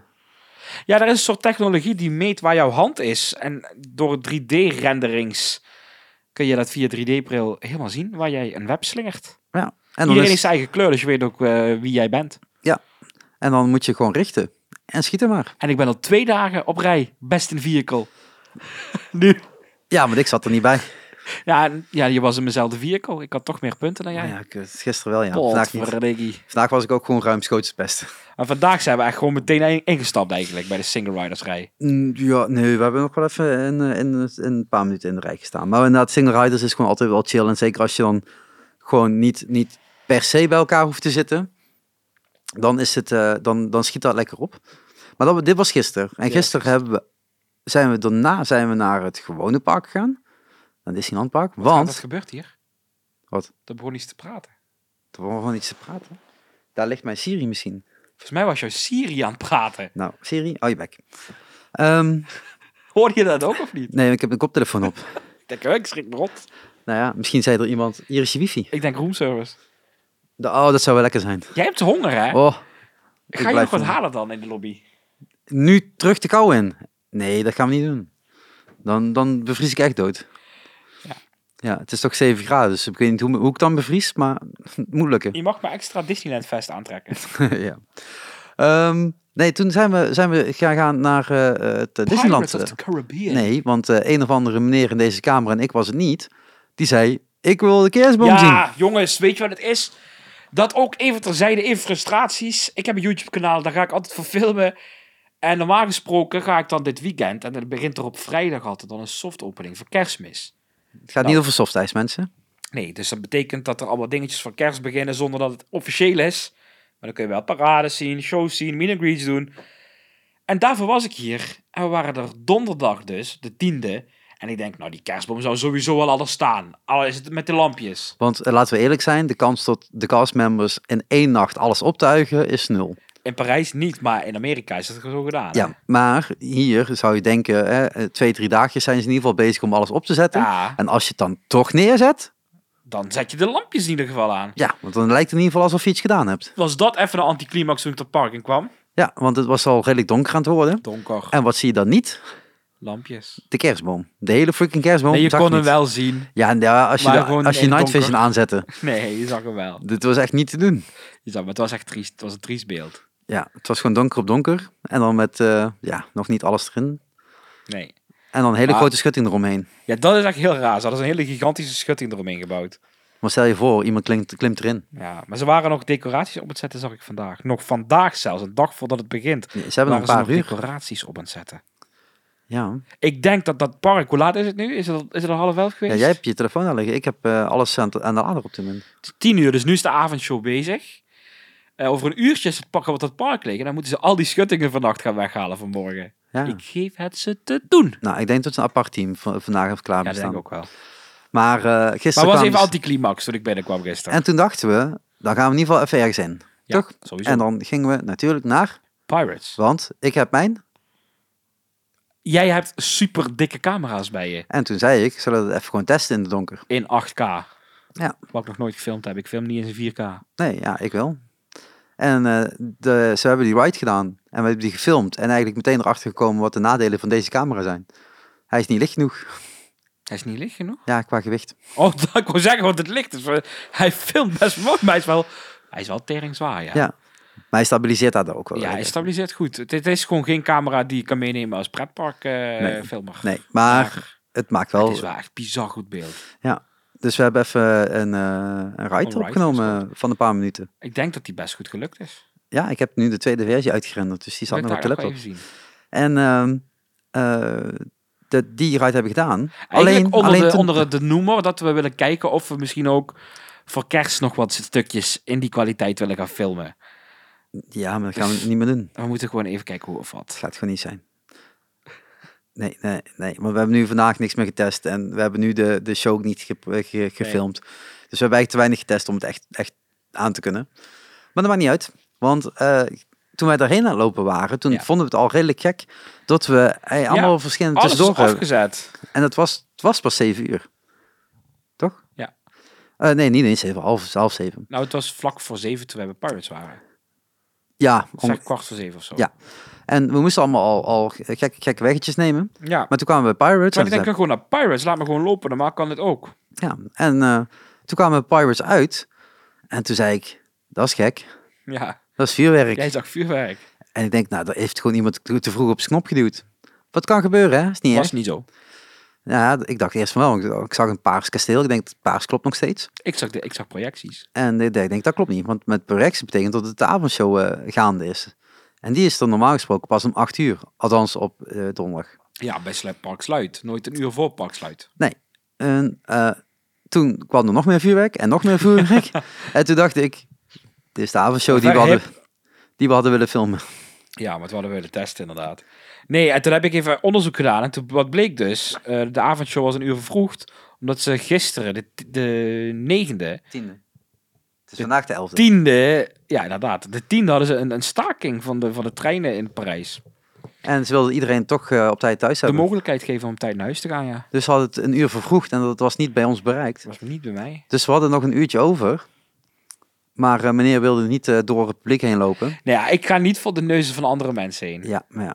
Ja, er is een soort technologie die meet waar jouw hand is. En door 3D-renderings kun je dat via 3D-bril helemaal zien waar jij een web slingert.
Ja. En, dan
Iedereen
is,
heeft zijn eigen kleur, dus je weet ook eh, wie jij bent.
en dan moet je gewoon richten. En schieten maar.
En ik ben al twee dagen op rij best in vehicle. nu.
Ja, maar ik zat er niet bij.
Ja, en- ja, je was in dezelfde vehicle. Ik had toch meer punten dan
Ja,
jij.
kut. gisteren wel, ja. Vandaag, niet.
Potverdikkie.
Vandaag was ik ook gewoon ruimschoots best.
En vandaag zijn we echt gewoon meteen in- ingestapt eigenlijk bij de single riders rij.
Mm, Ja, nee, we hebben nog wel even een, eh, een, een paar minuten in de rij gestaan. Maar inderdaad, single riders is gewoon altijd wel chill. En zeker als je dan gewoon niet, niet per se bij elkaar hoeft te zitten, dan, is het, eh, dan, dan schiet dat lekker op. Maar dat, dit was gisteren. En gisteren hebben we, zijn we daarna zijn we naar het gewone park gegaan. Naar het Disneyland Park.
Wat
want...
dat gebeurt hier?
Wat?
Er begon iets te praten.
Er wordt gewoon iets te praten. Daar ligt mijn Siri misschien.
Volgens mij was jouw Siri aan het praten.
Nou, Siri, hou je bek. Ehm,
Hoorde je dat ook of niet?
nee, ik heb een koptelefoon op.
Ik denk, oh, ik schrik me rot.
nou ja, misschien zei er iemand, hier is je wifi.
Ik denk roomservice.
Da- Oh, dat zou wel lekker zijn.
Jij hebt honger, hè?
Oh, ik
Ga je nog
blijf
wat
van-
halen dan in de lobby?
nu terug de kou in. Nee, dat gaan we niet doen. Dan, dan bevries ik echt dood.
Ja.
Ja, het is toch 7 graden, dus ik weet niet hoe, hoe ik dan bevries, maar het moet lukken.
Je mag maar extra Disneyland vest aantrekken.
ja. Ehm, nee, toen zijn we, zijn we gaan gaan naar eh, het Disneyland. eh.
Pirates of the Caribbean.
Nee, want eh, een of andere meneer in deze kamer, en ik was het niet, die zei, ik wil de kerstboom zien.
Ja, jongens, weet je wat het is? Dat ook even terzijde in frustraties. Ik heb een YouTube-kanaal, daar ga ik altijd voor filmen. En normaal gesproken ga ik dan dit weekend, en dat begint er op vrijdag altijd, dan een softopening voor kerstmis.
Het gaat
Nou.
niet over softijs, mensen.
Nee, dus dat betekent dat er allemaal dingetjes voor kerst beginnen zonder dat het officieel is. Maar dan kun je wel parades zien, shows zien, meet and greets doen. En daarvoor was ik hier. En we waren er donderdag dus, de tiende. En ik denk, nou die kerstboom zou sowieso wel alles staan. Al is het met de lampjes.
Want eh, laten we eerlijk zijn, de kans dat de castmembers in één nacht alles optuigen is nul.
In Parijs niet, maar in Amerika is dat zo gedaan. hè?
Ja, maar hier zou je denken, hè, eh, twee, drie dagjes zijn ze in ieder geval bezig om alles op te zetten.
Ja,
En als je het dan toch neerzet,
dan zet je de lampjes in ieder geval aan.
ja, want dan lijkt het in ieder geval alsof je iets gedaan hebt.
Was dat even een anticlimax toen ik ter parking kwam?
Ja, want het was al redelijk donker aan het worden.
Donker.
En wat zie je dan niet?
Lampjes.
De kerstboom. De hele freaking kerstboom.
Nee, je
zag
kon hem
niet.
wel zien.
Ja, en ja, als je,
Maar
de-
gewoon
als je
in het
night vision
donker.
aanzette.
Nee, je zag hem wel.
Dit was echt niet te doen.
Je zag, maar het was echt triest. Het was een triest beeld.
Ja, het was gewoon donker op donker. En dan met, eh, ja, nog niet alles erin.
Nee.
En dan een hele
Ah.
grote schutting eromheen.
Ja, dat is echt heel raar. Ze hadden een hele gigantische schutting eromheen gebouwd.
Maar stel je voor, iemand klimt, klimt erin.
Ja, maar ze waren nog decoraties op het zetten, zag ik vandaag. Nog vandaag zelfs, een dag voordat het begint.
Ja, Ze hebben nog
waren
een paar
ze nog
uur.
decoraties op aan het zetten.
Ja.
Ik denk dat dat park, hoe laat is het nu? Is het, al- is het al half elf geweest?
ja, jij hebt je telefoon aan liggen. Ik heb eh, alles aan, aan de lader op dit moment.
Het is tien uur, dus nu is de avondshow bezig. Eh, over een uurtje is het pakken wat het park liggen. Dan moeten ze al die schuttingen vannacht gaan weghalen vanmorgen.
Ja.
Ik geef het ze te doen.
Nou, ik denk dat ze een apart team van, vandaag heeft klaar
Ja, dat denk
bestaan.
ik ook wel.
Maar eh,
Maar
gisteren
het was
kwamen
even
ze-
anticlimax toen ik binnenkwam gisteren.
En toen dachten we, dan gaan we in ieder geval even ergens in.
Ja,
toch?
Sowieso.
En dan gingen we natuurlijk naar,
Pirates.
want ik heb mijn.
Jij hebt super dikke camera's bij je.
En toen zei ik, zullen we het even gewoon testen in de donker?
In 8K.
Ja.
Wat ik nog nooit gefilmd heb. Ik film niet eens in 4K.
Nee, ja, ik wel. En eh, de, ze hebben die ride gedaan en we hebben die gefilmd. En eigenlijk meteen erachter gekomen wat de nadelen van deze camera zijn. Hij is niet licht genoeg,
Hij is niet licht genoeg.
ja, qua gewicht.
Oh, dat ik wil zeggen, want het licht is... eh, Hij filmt best mooi, maar hij is wel... Hij is wel tering zwaar, ja.
Ja, Maar hij stabiliseert dat ook wel.
Ja, hij
lekker.
stabiliseert goed. Dit is gewoon geen camera die je kan meenemen als pretparkfilmer. filmer.
Nee, maar het maakt wel...
het is wel echt bizar goed beeld.
Dus we hebben even een, eh, een ride
ride
opgenomen van een paar minuten.
Ik denk dat die best goed gelukt is.
Ja, ik heb nu de tweede versie uitgerenderd, dus die zat
Ik
nog
wil
op de
daar ook wel
laptop.
even zien.
En ehm, eh, de, die ride heb ik gedaan.
Eigenlijk onder, de,
toen-
onder de noemer dat we willen kijken of we misschien ook voor kerst nog wat stukjes in die kwaliteit willen gaan filmen.
Ja, maar dat gaan we niet meer doen.
We moeten gewoon even kijken hoe of wat.
Het gaat gewoon niet zijn. Nee, nee, nee. Want we hebben nu vandaag niks meer getest. En we hebben nu de, de show ook niet ge- ge- gefilmd. Dus we hebben eigenlijk te weinig getest om het echt, echt aan te kunnen. Maar dat maakt niet uit. Want eh, toen wij daarheen aan het lopen waren, toen
Ja.
vonden we het al redelijk gek dat we eh, allemaal verschillende
Alles is
tussendoor hebben.
afgezet.
En het was, het was pas zeven uur. Toch?
Ja.
Eh, nee, niet eens zeven. Half, half zeven.
Nou, het was vlak voor zeven toen we bij Pirates waren.
Ja, om-
Zeg kwart voor zeven of zo.
Ja. en we moesten allemaal al, al gekke, gekke weggetjes nemen.
ja.
Maar toen kwamen we bij Pirates.
Maar
en
ik denk dan
ik
gewoon naar Pirates. Laat me gewoon lopen. Normaal kan het ook.
zei- ja, en eh, toen kwamen we bij Pirates uit. En toen zei ik, dat is gek.
Ja.
Dat is vuurwerk.
Jij zag vuurwerk.
En ik denk, nou, daar heeft gewoon iemand te vroeg op zijn knop geduwd. Wat kan gebeuren, hè? Is niet
Was
erg.
niet zo.
Ja, ik dacht eerst van wel. want Ik, ik zag een paars kasteel. Ik denk, het paars klopt nog steeds.
Ik zag, de, ik zag projecties.
En ik denk, dat klopt niet. Want met projectie betekent dat het de avondshow eh, gaande is. En die is dan normaal gesproken pas om 8 uur. Althans, op eh, donderdag.
Ja, bij Slap Park Sluit. Nooit een uur voor Park Sluit.
En eh, toen kwam er nog meer vuurwerk en nog meer vuurwerk. en toen dacht ik, dit is de avondshow die we,
Verhip.
hadden, die we hadden willen filmen.
Ja, maar het hadden we de test inderdaad. Nee, en toen heb ik even onderzoek gedaan. En toen, wat bleek dus, eh, de avondshow was een uur vervroegd. Omdat ze gisteren, de, de negende,
Tiende. Het is vandaag de 11e.
tiende... Ja, inderdaad. De tiende hadden ze een, een staking van de, van de treinen in Parijs.
En ze wilden iedereen toch eh, op tijd thuis
De
hebben.
mogelijkheid geven om op tijd naar huis te gaan, ja.
dus ze hadden het een uur vervroegd en dat was niet bij ons bereikt.
Dat was niet bij mij.
Dus we hadden nog een uurtje over. Maar eh, meneer wilde niet eh, door het publiek heen lopen.
Nou ja, ik ga niet voor de neuzen van andere mensen heen.
Ja, maar ja.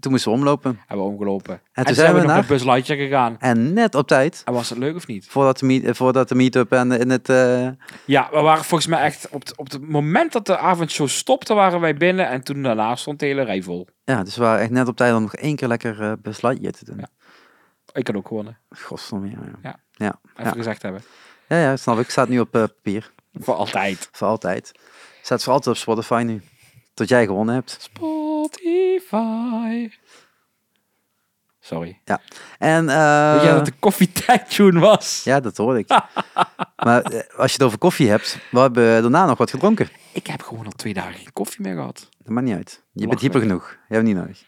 Toen moesten we omlopen.
Hebben we omgelopen. En toen,
zijn we
nog
naar-
naar Bus Lightyear gegaan.
En net op tijd,
En was het leuk of niet?
voordat de, meet, eh, voordat de meet-up en in het... eh,
Ja, we waren volgens mij echt op, het- op het moment dat de avondshow stopte, waren wij binnen. En toen daarna stond de hele rij vol.
Ja, dus we waren echt net op tijd om nog één keer lekker eh Buzz Lightyear te doen.
Ja. Ik had ook gewonnen.
Godverdomme, ja. Ja.
Ja.
Ja.
Even
Ja.
gezegd hebben.
ja, ja, snap ik. Staat nu op eh, papier.
Voor altijd.
Voor altijd. Staat voor altijd op Spotify nu. Tot jij gewonnen hebt.
Spotify. Sorry.
En,
Weet
eh,
jij dat de koffietijdtune was?
Ja, dat hoorde ik. maar eh, als je het over koffie hebt, we hebben daarna nog wat gedronken.
Ik heb gewoon al twee dagen geen koffie meer gehad.
Dat maakt niet uit. Je
Lach
bent hyper
mee.
genoeg. Je hebt niet nodig.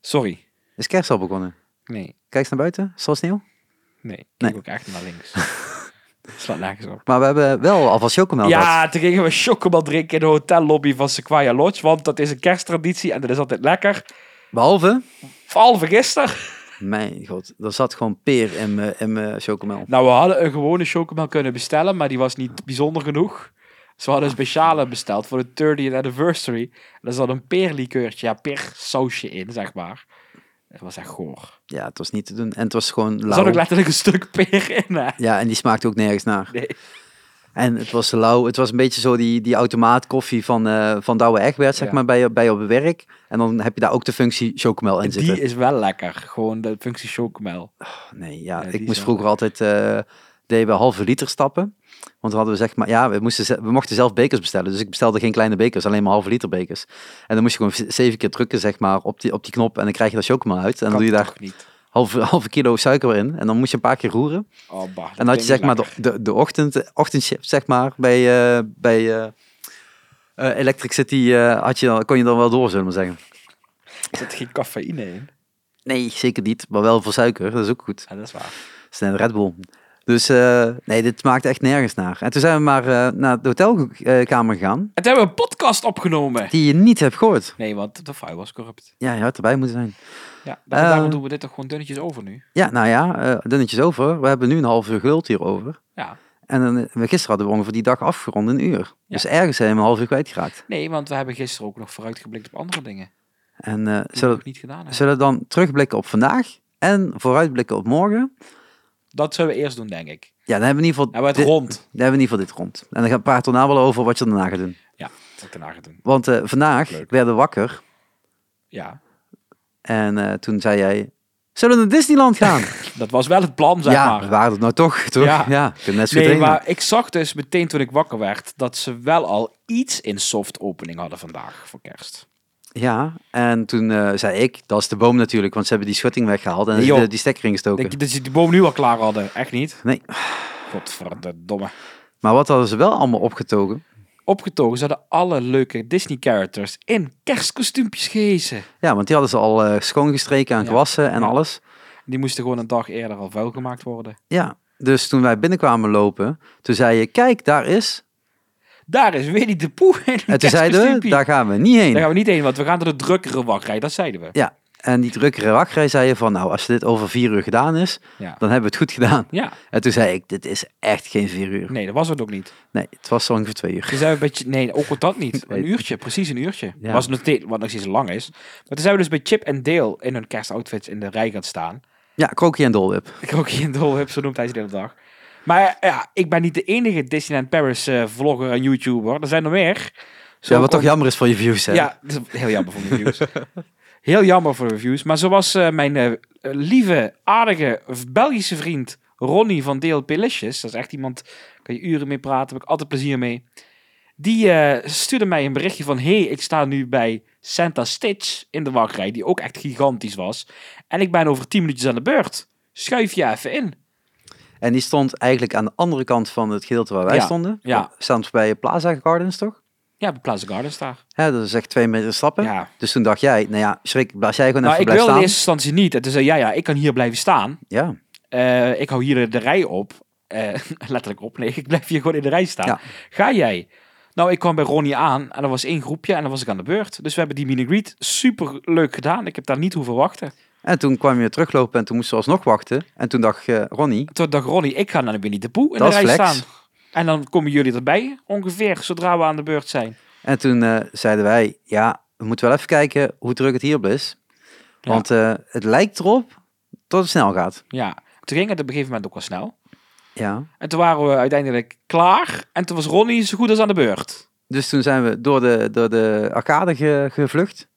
Sorry.
Is kerst al begonnen?
Nee,
Kijk eens naar buiten, zoals sneeuw.
nee. Ik
Nee.
kijk ook echt naar links. Slaat nergens op.
Maar we hebben wel alvast chocomel gehad.
Ja, toen gingen we chocomel drinken in de hotellobby van Sequoia Lodge. Want dat is een kersttraditie en dat is altijd lekker.
Behalve,
Vooral van gisteren.
mijn god, er zat gewoon peer in mijn- in mijn chocomel.
Nou, we hadden een gewone chocomel kunnen bestellen, maar die was niet bijzonder genoeg. Ze hadden een speciale besteld voor de 30th anniversary. En daar zat een peerlikeurtje, ja, peersausje in, zeg maar. Dat was echt goor.
Ja, het was niet te doen. En het was gewoon
Er zat ook
lauw.
letterlijk een stuk peer in, hè.
Ja, en die smaakte ook nergens naar.
Nee.
En het was lauw. Het was een beetje zo die, die automaatkoffie van, eh van Douwe Egbert, zeg
Ja.
maar, bij, bij op het werk. En dan heb je daar ook de functie chocomel in zitten.
Die is wel lekker, gewoon de functie chocomel.
Nee, ja,
Ja, die
ik
is
moest
wel-
vroeger altijd, eh deden we halve liter stappen. Want dan hadden we zeg maar, ja, we, moesten, ze- we mochten zelf bekers bestellen. Dus ik bestelde geen kleine bekers, alleen maar halve liter bekers. En dan moest je gewoon v- zeven keer drukken, zeg maar, op die, op die knop. En dan krijg je dat chocomel uit. En dan
Kan
doe je daar
toch niet.
halve, halve kilo suiker in. En dan moest je een paar keer roeren.
Oh, bah, dat
En dan had je
ding
zeg
is
maar de,
lekker.
de, de ochtend, ochtendchip, zeg maar, bij, eh, bij eh, eh, Electric City eh, had je dan, kon je dan wel door, zullen we maar zeggen.
Er zit geen cafeïne in.
Nee, zeker niet, maar wel voor suiker, dat is ook goed.
Ja, dat is waar.
Dat is net Red Bull. Dus eh, nee, dit maakt echt nergens naar. En toen zijn we maar eh, naar de hotelkamer gegaan,
En toen hebben we een podcast opgenomen.
die je niet hebt gehoord.
Nee, want de file was corrupt.
Ja, je had erbij moeten zijn.
Ja, daarom,
Eh.
daarom doen we dit toch gewoon dunnetjes over nu.
Ja, nou ja, eh dunnetjes over. We hebben nu een half uur geduld hierover.
Ja.
En dan, eh, gisteren hadden we ongeveer die dag afgerond een uur. Dus ergens zijn we een half uur kwijtgeraakt.
Nee, want we hebben gisteren ook nog vooruitgeblikt op andere dingen.
En eh
Die we
zodat,
nog niet gedaan hebben.
Zullen we dan terugblikken op vandaag en vooruitblikken op morgen?
Dat zullen we eerst doen, denk ik.
Ja, dan hebben we in ieder
Dan hebben
geval,
we Nou, het
dit, dan
rond.
hebben we in ieder geval dit rond. En dan gaan we praten we daarna wel over wat je daarna gaat doen.
Ja, dat ik daarna ga doen.
Want eh, vandaag
Leuk.
werden we wakker
Ja,
en eh, toen zei jij, zullen we naar Disneyland gaan?
dat was wel het plan, zeg
ja, we
maar.
waren het nou toch, toch?
Ja.
Ja, ik heb net zo
Nee,
goed
maar ik zag dus meteen toen ik wakker werd dat ze wel al iets in soft opening hadden vandaag voor kerst.
Ja, en toen eh, zei ik, dat is de boom natuurlijk, want ze hebben die schutting weggehaald en
Nee, joh.
de- die stekker ingestoken.
Denk je dat ze die boom nu al klaar hadden? Echt niet?
Nee.
Godverdomme.
Maar wat hadden ze wel allemaal opgetogen?
Opgetogen ze hadden alle leuke Disney-characters in kerstkostuumpjes gehezen.
Ja, want die hadden ze al eh, schoongestreken en
Ja.
gewassen en
Ja.
alles.
Die moesten gewoon een dag eerder al vuil gemaakt worden.
Ja, dus toen wij binnenkwamen lopen, toen zei je, kijk, daar is.
Daar is Winnie de Poe in een
En toen zeiden we,
kerstkostuumpje.
daar gaan we niet heen.
Daar gaan we niet heen, want we gaan door de drukkere wachtrij. Dat zeiden we.
Ja, En die drukkere wachtrij zei je van, nou, als je dit over vier uur gedaan is,
Ja.
dan hebben we het goed gedaan.
ja,
En toen zei ik, dit is echt geen vier uur.
nee, dat was het ook niet.
Nee, het was zo ongeveer twee uur.
Toen zijn we een beetje, nee, ook dat niet. Een
Nee.
uurtje, precies een uurtje.
Ja.
Was nog steeds, wat nog steeds lang is. Maar toen zijn we dus bij Chip en Dale in hun kerstoutfits in de rij gaan staan.
Ja, Krokie en Dolwip.
Ik ook hier een dol heb, zo noemt hij ze de hele dag. Maar eh, ja, ik ben niet de enige Disneyland Paris eh, vlogger en YouTuber. Er zijn er meer. Zo
Ja, wat
kon-
toch jammer is voor je views, hè?
Ja, dat is heel jammer voor de views. heel jammer voor de views. Maar zoals eh, mijn eh, lieve, aardige Belgische vriend Ronnie van DLP Lisjes. Dat is echt iemand, daar kan je uren mee praten, heb ik altijd plezier mee. Die eh, stuurde mij een berichtje van... hey, ik sta nu bij Santa Stitch in de wachtrij, die ook echt gigantisch was. En ik ben over 10 minuutjes aan de beurt. Schuif je even in.
En die stond eigenlijk aan de andere kant van het gedeelte waar wij
Ja,
stonden.
ja.
Staan bij Plaza Gardens, toch?
Ja, bij Plaza Gardens daar.
Hè, dat is echt twee meter stappen.
Ja.
Dus toen dacht jij, nou ja, schrik, blijf jij gewoon
Nou,
even
ik
blijven
wilde in
staan.
eerste instantie niet. En toen zei ja, ja, ik kan hier blijven staan.
Ja,
Eh, ik hou hier de- de rij op. Eh, letterlijk op. Nee, ik blijf hier gewoon in de rij staan.
Ja.
Ga jij? Nou, ik kwam bij Ronnie aan en er was één groepje en dan was ik aan de beurt. Dus we hebben die mini-greet super leuk gedaan. Ik heb daar niet hoeven wachten.
en toen kwam je teruglopen en toen moesten we alsnog wachten. En toen dacht eh, Ronnie,
Toen dacht Ronnie, ik ga naar de Winnie de Poe in
Dat
de
is
rij
flex.
staan. En dan komen jullie erbij, ongeveer, zodra we aan de beurt zijn.
En toen eh, zeiden wij, ja, we moeten wel even kijken hoe druk het hier is.
Ja.
Want eh, het lijkt erop dat het snel gaat.
Ja, toen ging het op een gegeven moment ook wel snel.
Ja.
En toen waren we uiteindelijk klaar. En toen was Ronnie zo goed als aan de beurt.
Dus toen zijn we door de, door de arcade ge- gevlucht.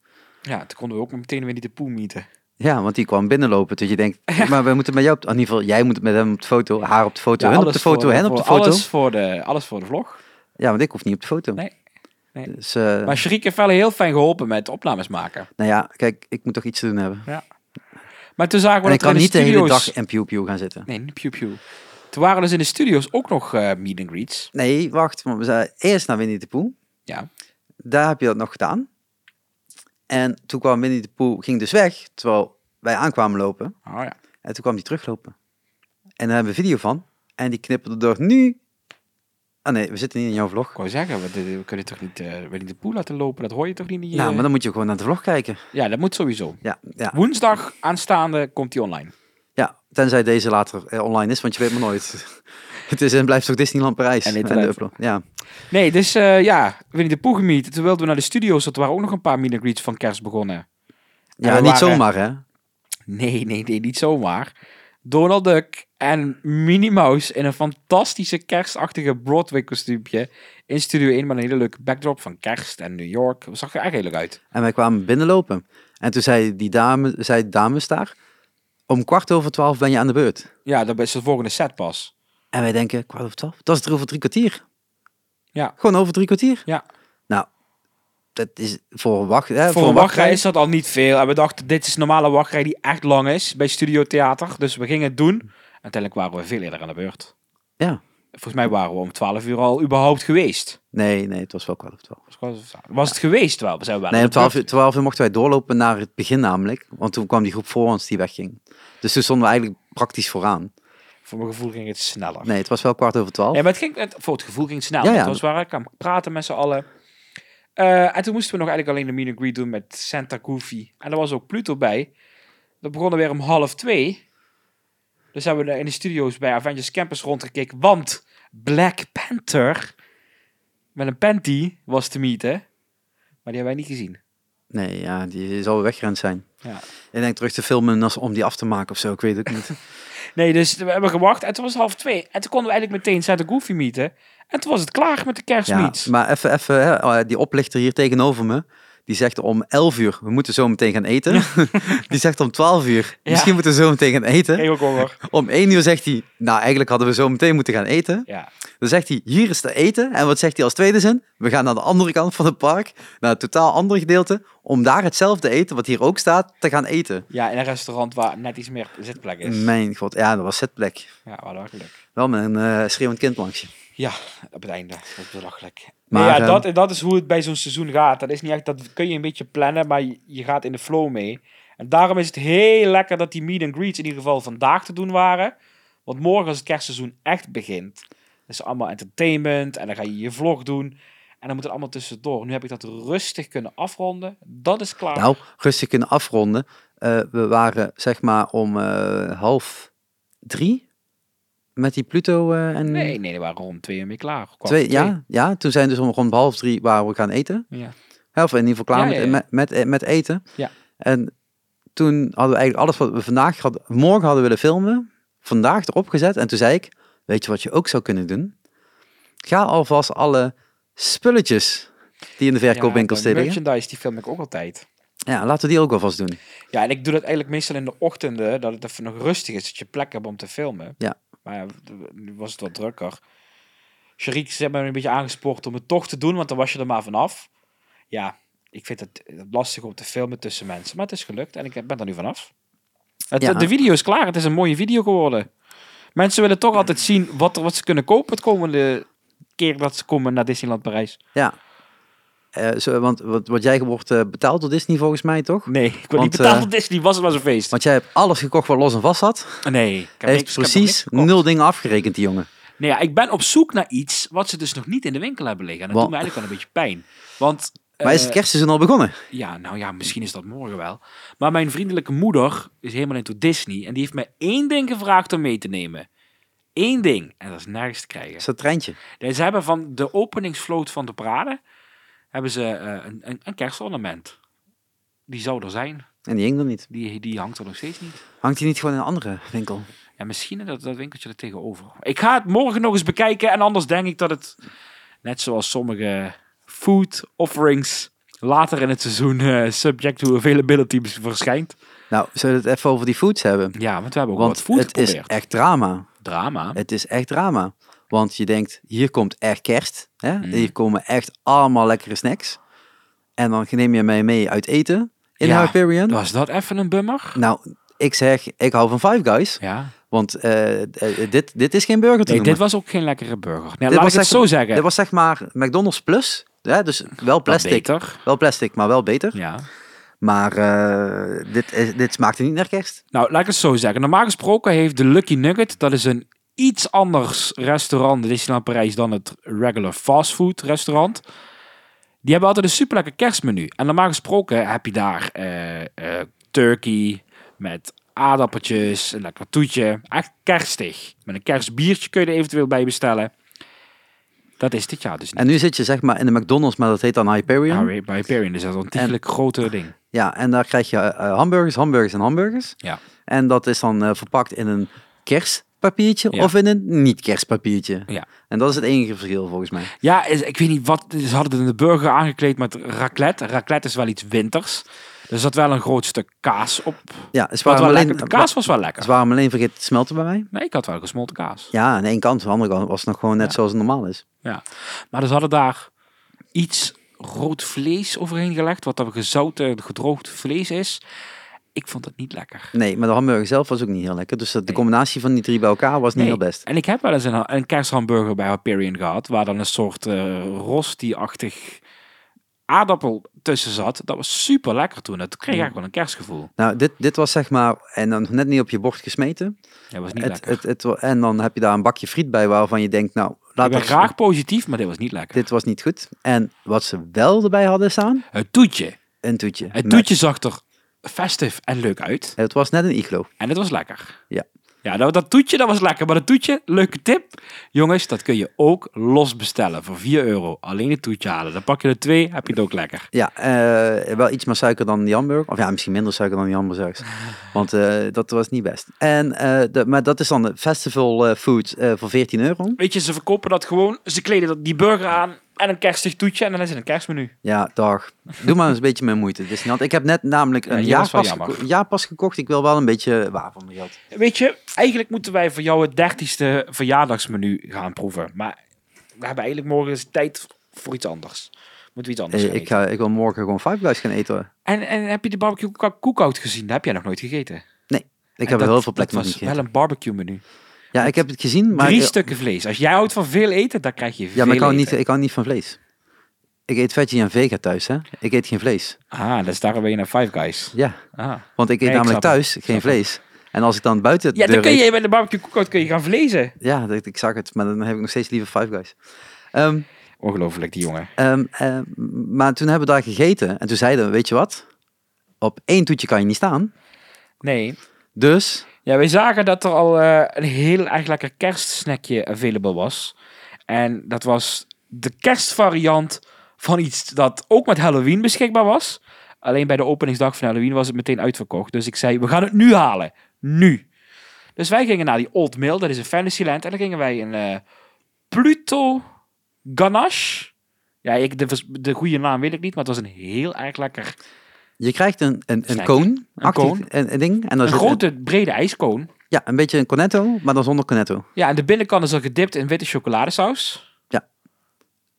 Ja, toen konden we ook meteen weer niet de poe mieten.
Ja, want die kwam binnenlopen. Dus je denkt, maar we moeten met jou op... In ieder geval, jij moet met hem op de foto, haar op de foto,
Ja,
hen op
alles
de foto,
voor-
hen op
voor-
de foto.
Alles voor de, alles voor de vlog.
Ja, want ik hoef niet op de foto.
Nee, nee.
Dus, eh,
Maar Shariek heeft wel heel fijn geholpen met opnames maken.
nou ja, kijk, ik moet toch iets te doen hebben.
Maar toen zagen we
En ik
dat er
kan
in de
niet de hele
studio's...
dag in Pew Pew gaan zitten.
Nee, niet pew pew. Toen waren dus in de studio's ook nog eh meet and greets.
Nee, wacht. Want we zijn eerst naar Winnie de Pooh.
Ja.
Daar heb je dat nog gedaan. En toen kwam Winnie de Pooh, ging dus weg, terwijl wij aankwamen lopen.
Oh ja.
En toen kwam die teruglopen. En daar hebben we een video van. En die knippen er door nu. Ah nee, we zitten niet in jouw vlog.
Ik wou zeggen, we, we kunnen toch niet eh Winnie de Poel laten lopen? Dat hoor je toch niet? in je-
Nou, maar dan moet je gewoon naar de vlog kijken.
Ja, dat moet sowieso.
Ja, ja,
Woensdag aanstaande komt die online.
ja. Tenzij deze later eh, online is, want je weet maar nooit. Het is en blijft toch Disneyland Parijs.
En
de
internet.
upload. Ja.
Nee, dus eh, ja, Winnie de Poel gemiet. Toen wilden we naar de studio's, dat waren ook nog een paar meet and greets van kerst begonnen.
ja,
we
niet
waren-
zomaar hè.
Nee, nee, nee, niet zomaar. Donald Duck en Minnie Mouse in een fantastische kerstachtige Broadway kostuumpje. In Studio 1 met een hele leuke backdrop van kerst en New York. Dat zag er echt heel leuk uit.
En wij kwamen binnenlopen. En toen zei die dame, zei dames daar, om kwart over twaalf ben je aan de beurt.
Ja, dat is de volgende set pas.
En wij denken, kwart over twaalf? Dat is er over drie kwartier.
Ja.
Gewoon over drie kwartier.
Ja.
Nou, dat is Eh, voor een wacht... Hè,
Voor een wachtrij is dat al niet veel. En we dachten, dit is een normale wachtrij die echt lang is bij Studio Theater. Dus we gingen het doen. En Uiteindelijk waren we veel eerder aan de beurt.
Ja.
Volgens mij waren we om 12 uur al überhaupt geweest.
Nee, nee, het was wel kwart over twaalf.
Was het geweest wel? We zijn wel aan
Nee,
de
om twaalf
beurt.
uur, twaalf uur mochten wij doorlopen naar het begin namelijk. Want toen kwam die groep voor ons die wegging. Dus toen stonden we eigenlijk praktisch vooraan.
Voor mijn gevoel ging het sneller.
Nee, het was wel kwart over twaalf.
Ja, maar het ging, het, voor het gevoel ging het snel.
Ja,
want
ja.
Het was waar ik aan het praten met z'n allen. Eh, en toen moesten we nog eigenlijk alleen de meet and greet doen met Santa Goofy. En er was ook Pluto bij. Dat begonnen weer om half twee. Dus hebben we in de studio's bij Avengers Campus rondgekeken. Want Black Panther met een panty was te meeten. Maar die hebben wij niet gezien.
Nee, ja, die zal wel weggerend zijn.
Ja.
Ik denk terug te filmen als- om die af te maken of zo, ik weet het ook niet.
Nee, dus we hebben gewacht. En toen was het half twee. En toen konden we eigenlijk meteen Santa Goofy meeten. En toen was het klaar met de
Ja,
kerstmeets.
maar even, even hè, eh, die oplichter hier tegenover me. Die zegt om 11 uur, we moeten zo meteen gaan eten. die zegt om 12 uur,
Ja.
misschien moeten we zo meteen gaan eten.
Heel gonger.
Om 1 uur zegt hij, nou eigenlijk hadden we zo meteen moeten gaan eten.
Ja.
Dan zegt hij, hier is te eten. En wat zegt hij als tweede zin? We gaan naar de andere kant van het park, naar het totaal andere gedeelte, om daar hetzelfde eten, wat hier ook staat, te gaan eten.
Ja, in een restaurant waar net iets meer zitplek is.
Mijn god, ja, dat was zetplek.
Ja, wat lachelijk.
Wel met een eh, schreeuwend kind langs je.
Ja, op het einde. Dat is belachelijk.
Maar,
Maar ja,
ehm,
dat, dat is hoe het bij zo'n seizoen gaat. Dat, is niet echt, dat kun je een beetje plannen, maar je, je gaat in de flow mee. En daarom is het heel lekker dat die meet and greets in ieder geval vandaag te doen waren. Want morgen als het kerstseizoen echt begint, is allemaal entertainment en dan ga je je vlog doen. En dan moet het allemaal tussendoor. Nu heb ik dat rustig kunnen afronden. Dat is klaar.
Nou, rustig kunnen afronden. Eh, we waren zeg maar om eh, half drie met die Pluto eh, en
nee, nee, we waren om twee uur mee klaar. Kwart voor
twee. Ja, ja, toen zijn dus om rond half drie waar we gaan eten.
Ja.
Hè, Of in ieder geval klaar
Ja, ja, ja.
Met, met, eh, met, met eten.
Ja.
En toen hadden we eigenlijk alles wat we vandaag hadden, morgen hadden willen filmen, vandaag erop gezet. En toen zei ik, weet je wat je ook zou kunnen doen? Ga alvast alle spulletjes die in de verkoopwinkels
de
liggen.
merchandise, die film ik ook altijd.
Ja, laten we die ook alvast doen.
Ja, en ik doe dat eigenlijk meestal in de ochtenden, dat het even nog rustig is, dat je plek hebt om te filmen.
Ja.
Maar ja, nu was het wat drukker. Sharik ze hebben me een beetje aangespoord om het toch te doen, want dan was je er maar vanaf. Ja, ik vind het het lastig om te filmen tussen mensen, maar het is gelukt en ik ben er nu vanaf. Het,
Ja.
De video is klaar, het is een mooie video geworden. Mensen willen toch altijd zien wat, er, wat ze kunnen kopen het komende keer dat ze komen naar Disneyland Parijs.
Ja. Eh, zo, want wat, wat jij wordt eh, betaald door Disney volgens mij, toch?
Nee, ik wil
Want,
niet betaald
eh,
door Disney, was het maar zo'n feest.
Want jij hebt alles gekocht wat los en vast had. Hij
nee, ik heb niks-
heeft
ik heb nog niks
precies
gekocht.
nul dingen afgerekend, die jongen.
Nee, ja, ik ben op zoek naar iets wat ze dus nog niet in de winkel hebben liggen. En dat
Wa-
doet me eigenlijk wel een beetje pijn. Want,
Maar is
eh,
het kerstseizoen al begonnen?
ja, nou ja, misschien is dat morgen wel. Maar mijn vriendelijke moeder is helemaal into Disney. En die heeft me één ding gevraagd om mee te nemen. Eén ding. En dat is nergens te krijgen.
Is dat treintje?
Nee, ze hebben van de openingsvloot van de parade... hebben ze eh, een, een, een kerstornament. Die zou er zijn.
En die hing er niet.
Die, die hangt er nog steeds niet.
Hangt die niet gewoon in een andere winkel?
Ja, misschien dat, dat winkeltje er tegenover. Ik ga het morgen nog eens bekijken. En anders denk ik dat het, net zoals sommige food offerings, later in het seizoen eh, subject to availability verschijnt.
Nou, zullen we het even over die foods hebben?
Ja, want we hebben ook wat
Want
food
het is
geprobeerd.
echt drama.
Drama.
Het is echt drama. Want je denkt, hier komt echt kerst. Hè?
Mhm.
Hier komen echt allemaal lekkere snacks. En dan neem je mij mee uit eten in
Ja,
Hyperion.
Was dat even een bummer?
Nou, ik zeg, ik hou van Five Guys.
Ja.
Want eh, eh, dit, dit is geen burger te
Nee, dit
noemen.
was ook geen lekkere burger. Nee,
Dit
laat ik
was
het
echt-
zo zeggen.
Dit was zeg maar McDonald's Plus. Hè? Dus wel
Wat
plastic.
beter.
Wel plastic, maar wel beter.
Ja.
Maar eh, dit, is, dit smaakte niet naar kerst.
Nou, laat ik het zo zeggen. Normaal gesproken heeft de Lucky Nugget, dat is een iets anders restaurant in Disneyland Parijs dan het regular fastfood restaurant. Die hebben altijd een superlekker kerstmenu. En normaal gesproken heb je daar eh, eh, turkey met aardappeltjes, een lekker toetje. Echt kerstig. Met een kerstbiertje kun je er eventueel bij bestellen. Dat is dit jaar dus niet.
En nu zit je zeg maar in de McDonald's, maar dat heet dan Hyperion.
Harry bij Hyperion is dat een ontiegelijk groter ding.
Ja, en daar krijg je eh, hamburgers, hamburgers en hamburgers.
Ja.
En dat is dan eh, verpakt in een kerstpapiertje
Ja.
of in een niet-kerstpapiertje.
Ja.
En dat is het enige verschil volgens mij.
Ja, is- ik weet niet wat. Ze hadden het in de burger aangekleed met raclette. Raclette is wel iets winters. Er zat wel een groot stuk kaas op.
Ja,
Wat
ze waren,
wel
alleen,
lekker, de kaas was wel lekker.
ze waren alleen vergeten te smelten bij mij.
Nee, ik had wel gesmolten kaas.
Ja, aan de ene kant, aan de andere kant was het nog gewoon net
Ja.
zoals het normaal is.
Ja. Maar ze hadden daar iets rood vlees overheen gelegd. Wat dan gezouten, gedroogd vlees is. Ik vond het niet lekker.
Nee, maar de hamburger zelf was ook niet heel lekker. Dus dat- de combinatie van die drie bij elkaar was niet
Nee.
heel best.
En ik heb wel eens een, ha- een kersthamburger bij Hyperion gehad. Waar dan een soort eh rosti-achtig aardappel tussen zat. Dat was super lekker toen. Dat kreeg eigenlijk wel een kerstgevoel.
Nou, dit, dit was zeg maar, en dan net niet op je bord gesmeten.
Dat was niet
Het,
lekker.
het, het, en dan heb je daar een bakje friet bij waarvan je denkt, nou,
ik
laat
ben
dat
graag positief, maar dit was niet lekker.
Dit was niet goed. En wat ze wel erbij hadden staan,
Het toetje.
een toetje.
Het
Met-
toetje zag er festive en leuk uit.
Het was net een iglo.
En het was lekker.
Ja.
Ja, dat, dat toetje, dat was lekker. Maar dat toetje, leuke tip. Jongens, dat kun je ook los bestellen voor 4 euro. Alleen het toetje halen. Dan pak je er twee, heb je het ook lekker.
Ja, eh, wel iets meer suiker dan die hamburger. Of ja, misschien minder suiker dan die hamburgers. Want eh, dat was niet best. En, eh, de, maar dat is dan de festival eh, food eh, voor 14 euro.
Weet je, ze verkopen dat gewoon. Ze kleden dat- die burger aan en een kerstig toetje. En dan is het een kerstmenu.
Ja, dag. Doe maar eens een beetje meer moeite. Disneyland. Ik heb net namelijk
Ja,
een
hier was wel
jaarpas,
jammer.
geko- jaarpas gekocht. Ik wil wel een beetje waar van mijn geld.
Weet je, eigenlijk moeten wij voor jou het dertigste verjaardagsmenu gaan proeven. Maar we hebben eigenlijk morgen eens tijd voor iets anders. Moeten we iets anders
Eh,
gaan
ik,
eten.
ga, ik wil morgen gewoon Five Guys gaan eten.
En, en heb je de barbecue koek- cookout gezien? Dat heb jij nog nooit gegeten.
Ik
En
heb er
dat-
heel veel plek
Dat
nog
was
niet gegeten.
wel een barbecue menu.
Ja, ik heb het gezien, maar...
Drie
eh,
stukken vlees. Als jij houdt van veel eten, dan krijg je veel
Ja, maar ik hou, niet,
eten.
ik hou niet van vlees. Ik eet veggie en vega thuis, hè. Ik eet geen vlees.
Ah, dus daarom ben je naar Five Guys.
Ja,
Ah.
want ik eet
Nee, ik
namelijk
snap het.
thuis
snap
geen vlees. En als ik dan buiten de
Ja, dan
deur
kun
eet-
je bij de barbecue cookout kun je gaan vlezen.
Ja, dat- ik zag het, maar dan heb ik nog steeds liever Five Guys. Ehm,
Ongelooflijk, die jongen.
Ehm, ehm, maar toen hebben we daar gegeten en toen zeiden we, weet je wat? Op één toetje kan je niet staan.
Nee.
Dus
Ja, wij zagen dat er al eh, een heel erg lekker kerstsnackje available was. En dat was de kerstvariant van iets dat ook met Halloween beschikbaar was. Alleen bij de openingsdag van Halloween was het meteen uitverkocht. Dus ik zei, we gaan het nu halen. Nu. Dus wij gingen naar die Old Mill, dat is een Fantasyland. En dan gingen wij een eh, Pluto Ganache. Ja, ik, de, vers- de goede naam weet ik niet, maar het was een heel erg lekker...
je krijgt een, een, een
Snackje.
koon, actief-
koon.
Een, een ding. En dan
Een grote, brede ijskoon.
ja, een beetje een cornetto, maar dan zonder cornetto.
Ja, en de binnenkant is al gedipt in witte chocoladesaus.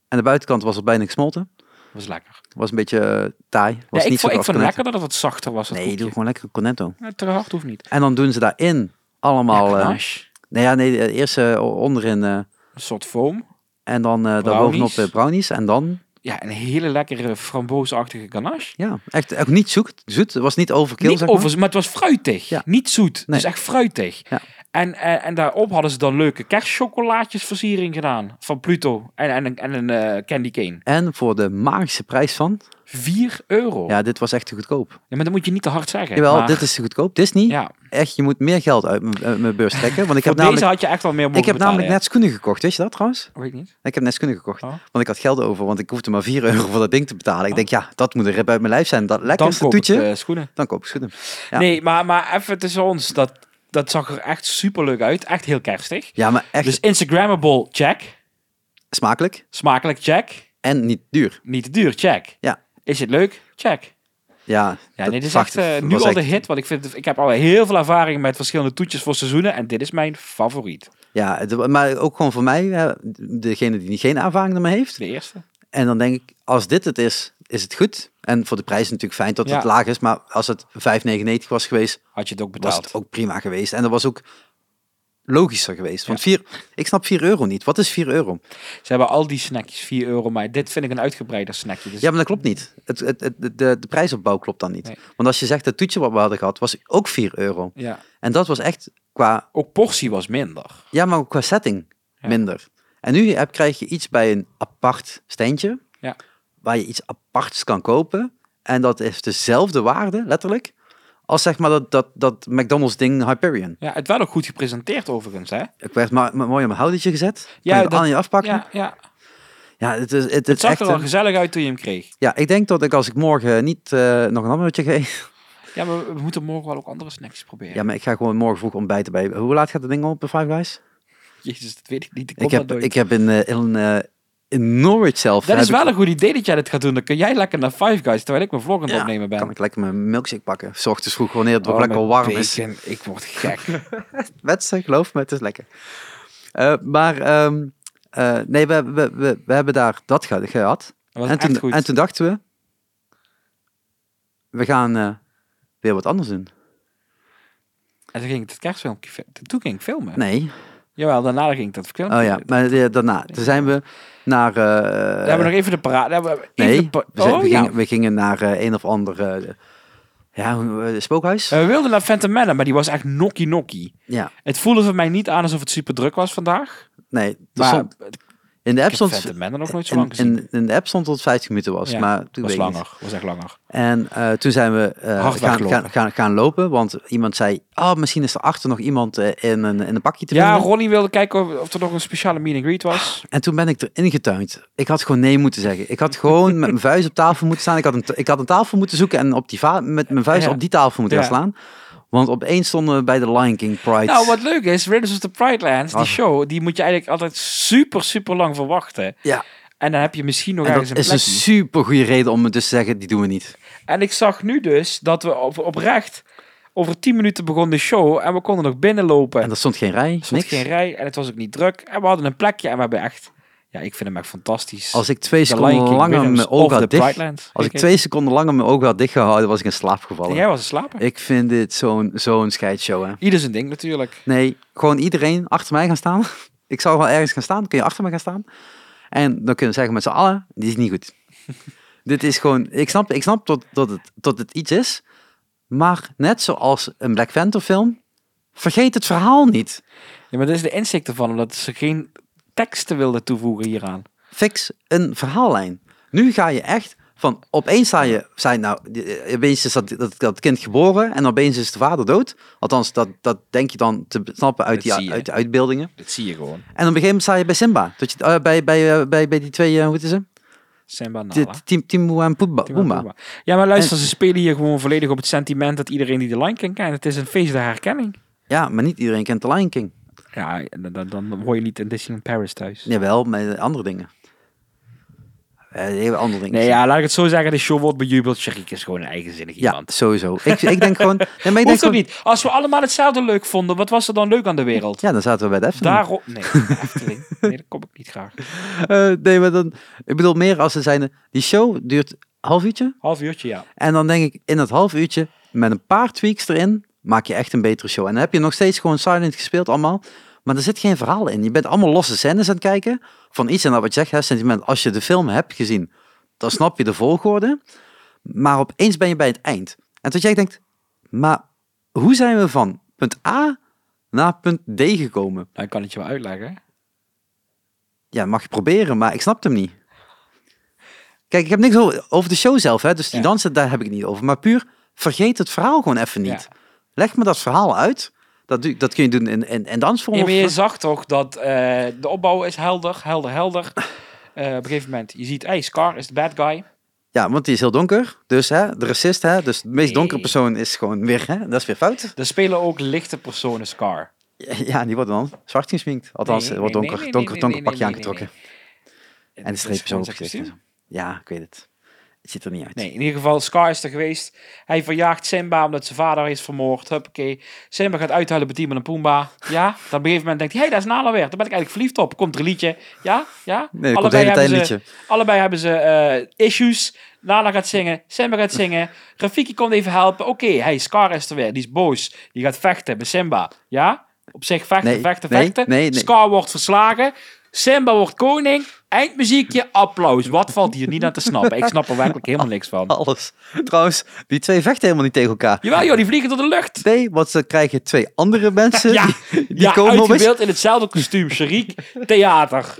En de buitenkant was al bijna gesmolten.
was lekker.
Was een beetje eh, taai. Was
Ja, ik vond,
niet zo
ik vond
als
het
cornetto.
lekker dat het wat zachter was. dat
Nee, doe
koekje.
gewoon lekker een cornetto.
Ja, Te hard hoeft niet.
En dan doen ze daarin allemaal...
Ja,
eh,
ganache.
nee, ja, nee, eh, eerst eh, onderin eh,
Een soort foam.
en dan eh daarbovenop eh, brownies. En dan,
Ja, een hele lekkere framboosachtige ganache.
ja, echt, echt niet zoek, zoet. Het was niet overkill,
niet
zeg maar.
over, maar het was fruitig.
Ja.
Niet zoet.
Nee.
Dus echt fruitig.
Ja.
En, eh, en, en daarop hadden ze dan leuke kerstchocolaatjesversiering gedaan. Van Pluto. En, en, een- en een eh, candy cane.
En voor de magische prijs van...
4 euro. Ja.
Ja, dit was echt te goedkoop.
maar dat moet je niet te hard zeggen.
Jawel,
maar-
dit is te goedkoop. Disney,
Ja,
echt, je moet meer geld uit mijn- uit mijn beurs trekken. Want ik
voor
heb
deze
namelijk,
had je echt wel meer
ik
moeten
heb
betalen.
namelijk net schoenen gekocht. Weet je dat trouwens?
ja. Weet ik niet.
Ik heb net schoenen gekocht.
Oh.
Want ik had geld over, want ik hoefde maar 4 euro voor dat ding te betalen. Ik denk, ja, dat moet er rip uit mijn lijf zijn. Dat
Dan
lekkerste
koop ik
toetje,
eh, schoenen.
dan koop ik schoenen. Ja.
Nee, maar, maar even tussen ons. Dat, dat zag er echt super leuk uit. Echt heel kerstig.
Ja, maar echt
Dus Instagrammable, check.
smakelijk
Smakelijk, check.
en niet duur.
Niet te duur, check.
Ja.
Is het leuk? Check.
Ja,
Ja, nee,
dat
dit is
zag-
echt eh, nu
was
al de
echt-
hit. Want ik, vind, ik heb al heel veel ervaring met verschillende toetjes voor seizoenen. En dit is mijn favoriet.
Ja, het- maar ook gewoon voor mij, eh, degene die geen ervaring ermee heeft.
De eerste.
En dan denk ik, als dit het is, is het goed. En voor de prijs natuurlijk fijn dat
Ja.
het laag is. Maar als het 5,99 was geweest,
Had je het ook
was
betaald.
het ook prima geweest. En dat was ook logischer geweest. Want vier, ik snap 4 euro niet. Wat is 4 euro?
Ze hebben al die snackjes, 4 euro. Maar dit vind ik een uitgebreider snackje. Dus
Ja, maar dat klopt niet. Het, het, het, de, de prijsopbouw klopt dan niet.
Nee.
Want als je zegt, dat toetje wat we hadden gehad, was ook 4 euro.
ja.
En dat was echt qua,
Ook portie was minder.
ja, maar ook qua setting
Ja.
minder. En nu heb, krijg je iets bij een apart standje,
Ja.
waar je iets aparts kan kopen. En dat heeft dezelfde waarde, letterlijk, als zeg maar dat, dat, dat McDonald's ding Hyperion.
Ja, het werd ook goed gepresenteerd overigens, hè?
Ik werd maar, maar mooi op mijn houdertje gezet.
Ja,
Ja, je
dat-
dat, aan je afpakken.
Ja, ja.
Ja, het is, het, het
Het
is
zag
echt...
er al
een-
gezellig uit toen je hem kreeg.
Ja, ik denk dat ik als ik morgen niet eh, nog een hamburgertje geef...
Ja, maar we- we moeten morgen wel ook andere snackjes proberen.
Ja, maar ik ga gewoon morgen vroeg ontbijten bij... Hoe laat gaat dat ding op bij Five Guys?
Jezus, dat weet ik niet. Ik, kom
Ik heb,
dat nooit.
ik heb in, eh, in, eh, in Norwich zelf...
dat
heb
is wel
ik,
een goed idee dat jij dit gaat doen. Dan kun jij lekker naar Five Guys, terwijl ik mijn vlog aan het
Ja,
opnemen ben.
Kan ik lekker mijn milkshake pakken. 's ochtends vroeg wanneer het nog
Oh,
lekker
met
warm is.
bacon, Ik word gek.
Wetsen, geloof me, het is lekker. Eh, maar ehm, eh, nee, we, we, we, we hebben daar dat ge- gehad.
Dat was
En
echt
toen,
goed.
en toen dachten we... We gaan eh, weer wat anders doen.
En toen ging ik het kerstfilmpje... fi- Toen ging ik filmen.
Nee,
Jawel, daarna ging ik dat filmpje.
Oh ja, maar eh, daarna. Toen zijn we naar... eh,
We hebben we nog even de parade... daar hebben we even
nee,
de pa-
we, zijn-
oh,
we,
ja.
gingen, we gingen naar eh, een of ander... eh, ja, hoe- eh, spookhuis?
Eh, We wilden naar Phantom Manor, maar die was echt nokkie nokkie.
ja,
Het voelde voor mij niet aan alsof het super druk was vandaag.
nee. er
Maar
stond-
ik
in de app
heb
stond...
Phantom Manor nog nooit zo
In,
lang gezien.
in, in de app stond dat het 50 minuten was,
Ja,
maar toen
was
weet ik niet.
langer. was echt langer.
En eh, toen zijn we eh,
Hard
gaan,
weglopen.
gaan, gaan, gaan lopen, want iemand zei... Oh, misschien is er achter nog iemand eh, in, een, in een pakje te
Ja,
vinden.
Ronnie wilde kijken of, of er nog een speciale meet and greet was.
En toen ben ik erin getuind. Ik had gewoon nee moeten zeggen. Ik had gewoon met mijn vuist op tafel moeten staan. Ik had een, ik had een tafel moeten zoeken en op die va- met mijn vuist
Ja.
op die tafel moeten
Ja.
gaan slaan. Want opeens stonden we bij de Lion King Pride.
Nou, wat leuk is, Raiders of the Pride Lands, die
Ah.
show, die moet je eigenlijk altijd super, super lang verwachten.
Ja,
En dan heb je misschien nog
en
ergens
dat
een
is een
plekje.
super goede reden om het dus te zeggen, die doen we niet.
En ik zag nu dus dat we op, oprecht, over 10 minuten begon de show en we konden nog binnenlopen.
En er stond geen rij,
er stond
niks.
geen rij en het was ook niet druk. En we hadden een plekje en we hebben echt, ja, ik vind hem echt fantastisch.
Als ik twee
The Lion
seconden
King
langer
Rhythms
mijn
of
ogen
the
had
Pride
dicht...
Lands.
Als ik
Kijk,
twee seconden langer mijn ogen had dichtgehouden, was ik in slaap
en
gevallen.
Jij was een slaper.
Ik vind dit zo'n zo'n scheidshow, hè.
Ieder zijn ding natuurlijk.
Nee, gewoon iedereen achter mij gaan staan. Ik zou wel ergens gaan staan. Kun je achter mij gaan staan? En dan kunnen we zeggen met z'n allen, dit is niet goed. Dit is gewoon... Ik snap, ik snap dat, dat, het, dat het iets is. Maar net zoals een Black Panther film, vergeet het verhaal niet.
Ja, maar dat is de inzicht ervan, omdat ze geen teksten wilden toevoegen hieraan.
fix een verhaallijn. Nu ga je echt van opeens sta je, sta je nou, die- opeens is dat, dat, dat kind geboren en opeens is de vader dood. Althans, dat, dat denk je dan te snappen uit,
Dat zie
die,
je.
uit de uitbeeldingen.
Dat zie je gewoon.
En op een gegeven moment sta je bij Simba. Dat je, eh, bij, bij, eh, bij, bij die twee, eh, hoe heet ze?
Simba en
Ti-
Nala.
Tim- Timon en Pumbaa.
Timon en
Pumbaa.
Pumbaa. Ja, maar luister, ze spelen hier gewoon volledig op het sentiment dat iedereen die de Lion King kent, het is een feest der herkenning.
Ja, maar niet iedereen kent The Lion King.
Ja, dan, dan, dan hoor je niet in Disneyland Paris thuis.
Jawel, met andere dingen. Eh, Hele andere dingen.
Nee, ja, laat ik het zo zeggen. De show wordt bejubeld. Sharik is gewoon een eigenzinnig
Ja,
iemand.
sowieso. Ik, ik denk gewoon... Nee, maar ik denk
Hoeft ook
gewoon-
niet. Als we allemaal hetzelfde leuk vonden, wat was er dan leuk aan de wereld?
Ja, dan zaten we bij de Efteling.
Daarop... Nee, Efteling. Nee, daar kom ik niet graag.
Eh, nee, maar dan... Ik bedoel, meer als ze zijn... Die show duurt een half uurtje.
Half uurtje, ja.
En dan denk ik, in dat half uurtje, met een paar tweaks erin, maak je echt een betere show. En dan heb je nog steeds gewoon silent gespeeld allemaal. Maar er zit geen verhaal in. Je bent allemaal losse scènes aan het kijken van iets. En dat wat je zegt, hè, sentiment, als je de film hebt gezien, dan snap je de volgorde. Maar opeens ben je bij het eind. En tot jij denkt, maar hoe zijn we van punt A naar punt D gekomen?
Nou, ik kan het je wel uitleggen.
Ja, mag je proberen, maar ik snap hem niet. Kijk, ik heb niks over, over de show zelf, hè, dus die
Ja.
dansen, daar heb ik het niet over. Maar puur, vergeet het verhaal gewoon even niet.
Ja.
Leg me dat verhaal uit. Dat, doe- dat kun je doen in, in, in dansvorm.
Ja, maar je
of-
zag toch dat eh, de opbouw is helder, helder, helder. Eh, op een gegeven moment, je ziet, hey, Scar is de bad guy.
ja, want die is heel donker. Dus hè, de racist, hè, dus de meest
Nee.
donkere persoon is gewoon weer, hè, dat is weer fout.
Er spelen ook lichte personen Scar.
Ja, die wordt dan zwart gesminkt. Althans,
Nee,
wordt
nee,
donker,
nee, nee,
donker,
nee,
donker
nee,
pakje
nee, nee,
aangetrokken.
nee.
En de
Dat is
streepjes
gewoon
op
zijn
gezicht. en
kostuum.
zo. Ja, ik weet het. Het ziet er niet uit.
Nee, in ieder geval, Scar is er geweest. Hij verjaagt Simba omdat zijn vader is vermoord. Huppakee. Simba gaat uithuilen bij Timon en Pumbaa. Ja, dan op een gegeven moment denkt hij, hey, daar is Nala weer. Daar ben ik eigenlijk verliefd op. Komt er een liedje. Ja, ja.
Nee, er komt de hele tijd een
hebben
liedje.
ze, allebei hebben ze eh, issues. Nala gaat zingen, Simba gaat zingen. Rafiki komt even helpen. Oké, hey, Scar is er weer. Die is boos. Die gaat vechten met Simba. Ja? Op zich vechten,
Nee,
vechten,
nee,
vechten.
nee, nee.
Scar wordt verslagen. Simba wordt koning. Eindmuziekje, applaus. Wat valt hier niet aan te snappen? Ik snap er werkelijk helemaal niks van.
Alles. Trouwens, die twee vechten helemaal niet tegen elkaar.
Jawel joh, die vliegen door de lucht.
Nee, want ze krijgen twee andere mensen.
Ja,
die, die
ja
komen op eens.
uitgebeeld in hetzelfde kostuum. Sharik, theater.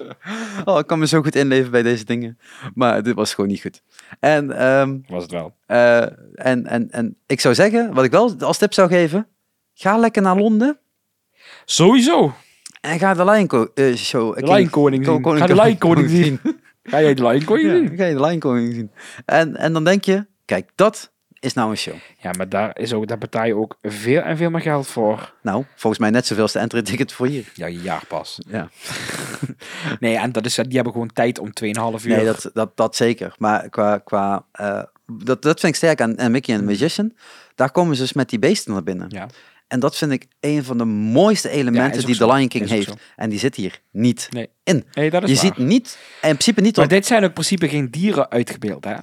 Oh, ik kan me zo goed inleven bij deze dingen. Maar dit was gewoon niet goed. En, ehm,
Was het wel.
eh, en, en, en ik zou zeggen, wat ik wel als tip zou geven. Ga lekker naar Londen
Sowieso.
en ga de Lion Co- eh, Show...
De Lionkoning zien.
Koning-
Ga de Lionkoning
Koning
zien. Ga jij de Lion Koning
Ja,
zien?
ga je de Lion Koning zien. En, en dan denk je, kijk, dat is nou een show.
Ja, maar daar, is ook, daar betaal je ook veel en veel meer geld voor.
Nou, volgens mij net zoveel als de entry ticket voor hier.
Ja, je jaarpas.
Ja.
Nee, en dat is, die hebben gewoon tijd om 2,5 uur.
Nee, dat, dat, dat zeker. Maar qua, qua eh, dat, dat vind ik sterk aan, aan Mickey en the Magician. Daar komen ze dus met die beesten naar binnen.
Mm. Ja.
En dat vind ik een van de mooiste
Ja,
elementen
is ook
die
zo.
The Lion King
Is ook
heeft.
zo.
En die zit hier niet
Nee.
in.
Nee, dat is
Je
waar.
ziet niet, en in principe niet,
Maar
op, Oh.
dit zijn ook in principe geen dieren uitgebeeld, hè?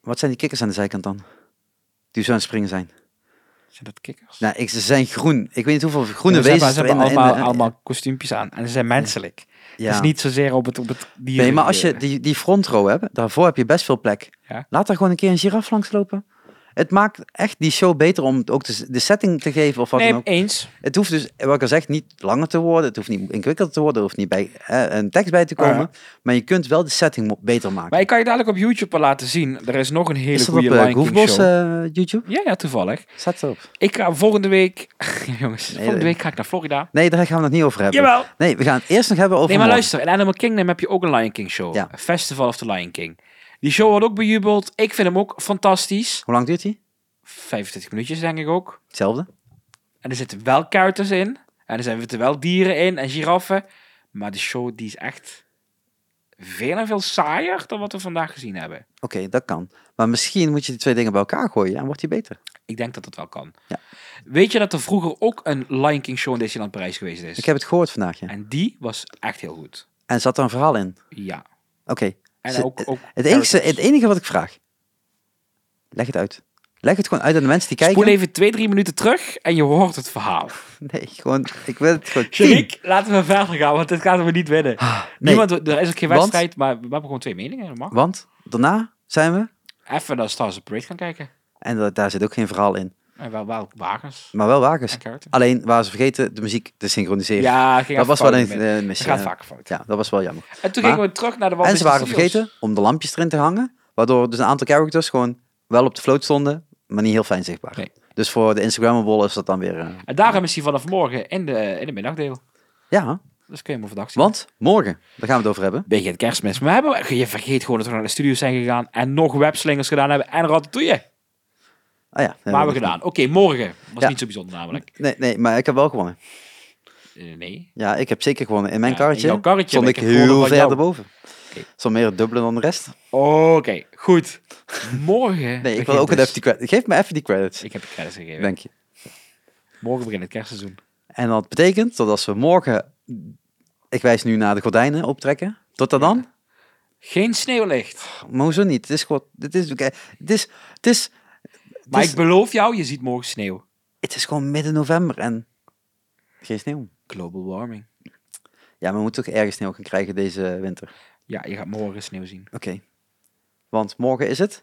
wat zijn die kikkers aan de zijkant dan? Die zo aan het springen zijn.
Zijn dat kikkers?
Nou, ik, ze zijn groen. Ik weet niet hoeveel groene
Ja, ze hebben, ze
wezens
hebben
er in- in-
allemaal,
in-
allemaal kostuumpjes aan. En ze zijn menselijk.
ja.
Het is Dus niet zozeer op het, op het dier.
Nee, maar als je die, die front row hebt, daarvoor heb je best veel plek.
Ja.
Laat daar gewoon een keer een giraf langs lopen. Het maakt echt die show beter om het ook de, de setting te geven of wat dan
Nee,
ook.
eens.
Het hoeft dus, wat ik al zeg, niet langer te worden. Het hoeft niet ingewikkelder te worden. Er hoeft niet bij, eh, een tekst bij te komen.
Ja.
Maar je kunt wel de setting mo- beter maken.
Maar ik kan je dadelijk op YouTube wel laten zien. Er is nog een hele
Is dat op
goede
eh,
Lion King
Goofballs,
show.
eh, YouTube?
Ja, ja, toevallig.
Staat erop.
Ik ga volgende week... Jongens, volgende
dat-
week ga ik naar Florida.
Nee, daar gaan we het niet over hebben.
Jawel.
Nee, we gaan het eerst nog hebben over...
Nee, maar
morgen.
luister. In Animal Kingdom heb je ook een Lion King show.
Ja.
Festival of the Lion King. Die show wordt ook bejubeld. Ik vind hem ook fantastisch.
Hoe lang duurt die?
25 minuutjes, denk ik ook.
Hetzelfde.
En er zitten wel characters in. En er zitten wel dieren in en giraffen. Maar de show die is echt veel en veel saaier dan wat we vandaag gezien hebben.
Oké, dat kan. Maar misschien moet je die twee dingen bij elkaar gooien en wordt die beter.
Ik denk dat dat wel kan.
Ja.
Weet je dat er vroeger ook een Lion King show in Disneyland Parijs geweest is?
Ik heb het gehoord vandaag, ja.
En die was echt heel goed.
En zat er een verhaal in?
Ja.
Oké.
En
Ze-
ook, ook
Het enige,
characters.
het enige wat ik vraag. Leg het uit. Leg het gewoon uit aan de mensen die kijken.
Spoel even twee, drie minuten terug en je hoort het verhaal.
Nee, gewoon. Ik wil het gewoon. tien.
Sharik, laten we verder gaan, want dit gaan we niet winnen.
nee.
Niemand, er is ook geen
Want-
wedstrijd, maar we hebben gewoon twee meningen. dat mag.
Want daarna zijn we.
Even naar Stars of Parade gaan kijken.
En da- daar zit ook geen verhaal in.
En wel, wel wakers.
Maar wel wakens.
En kaarten.
Alleen waar ze vergeten de muziek te synchroniseren.
Ja, ging
dat was wel een
een...
eh, mis.
gaat
eh,
vaak fout.
Ja, dat was wel jammer.
En toen
Maar-
gingen we terug naar de Walt
en ze
Disney
waren
Studios.
vergeten om de lampjes erin te hangen, waardoor dus een aantal characters gewoon wel op de float stonden, maar niet heel fijn zichtbaar.
Nee.
Dus voor de Instagrammable is dat dan weer... eh,
En daarom is hij vanaf morgen in de, in de middagdeel.
ja,
Dus kun je hem overdag zien.
want morgen, daar gaan we het over hebben.
Begin kerstmis. Maar we hebben, je vergeet gewoon dat we naar de studio zijn gegaan en nog webslingers gedaan hebben en ratatouille.
Ah ja.
Maar we gedaan. Oké, morgen. Was
Ja.
niet zo bijzonder namelijk.
Nee, nee, maar ik heb wel gewonnen.
Eh, nee.
Ja, ik heb zeker gewonnen. In mijn
Ja, in
karretje,
jouw karretje,
stond
maar
ik
ik heb gewonnen
heel
van
ver
jou.
erboven. Stond meer het dubbele dan de rest.
Oké, goed. Morgen.
Nee, ik wil
begint
ook het
dus-
even die credits. Geef me even die credits,
Ik heb de credits gegeven.
denk je.
Morgen begint het kerstseizoen.
En dat betekent dat als we morgen, ik wijs nu naar de gordijnen optrekken, tot dan dan.
Geen sneeuwlicht.
Maar hoezo niet? Het is gewoon, het is, oké, het is, het is, het
Maar
is,
ik beloof jou, je ziet morgen sneeuw.
het is gewoon midden november en geen sneeuw.
Global warming.
Ja, maar we moeten toch ergens sneeuw gaan krijgen deze winter.
Ja, je gaat morgen sneeuw zien.
Oké. Want morgen is het.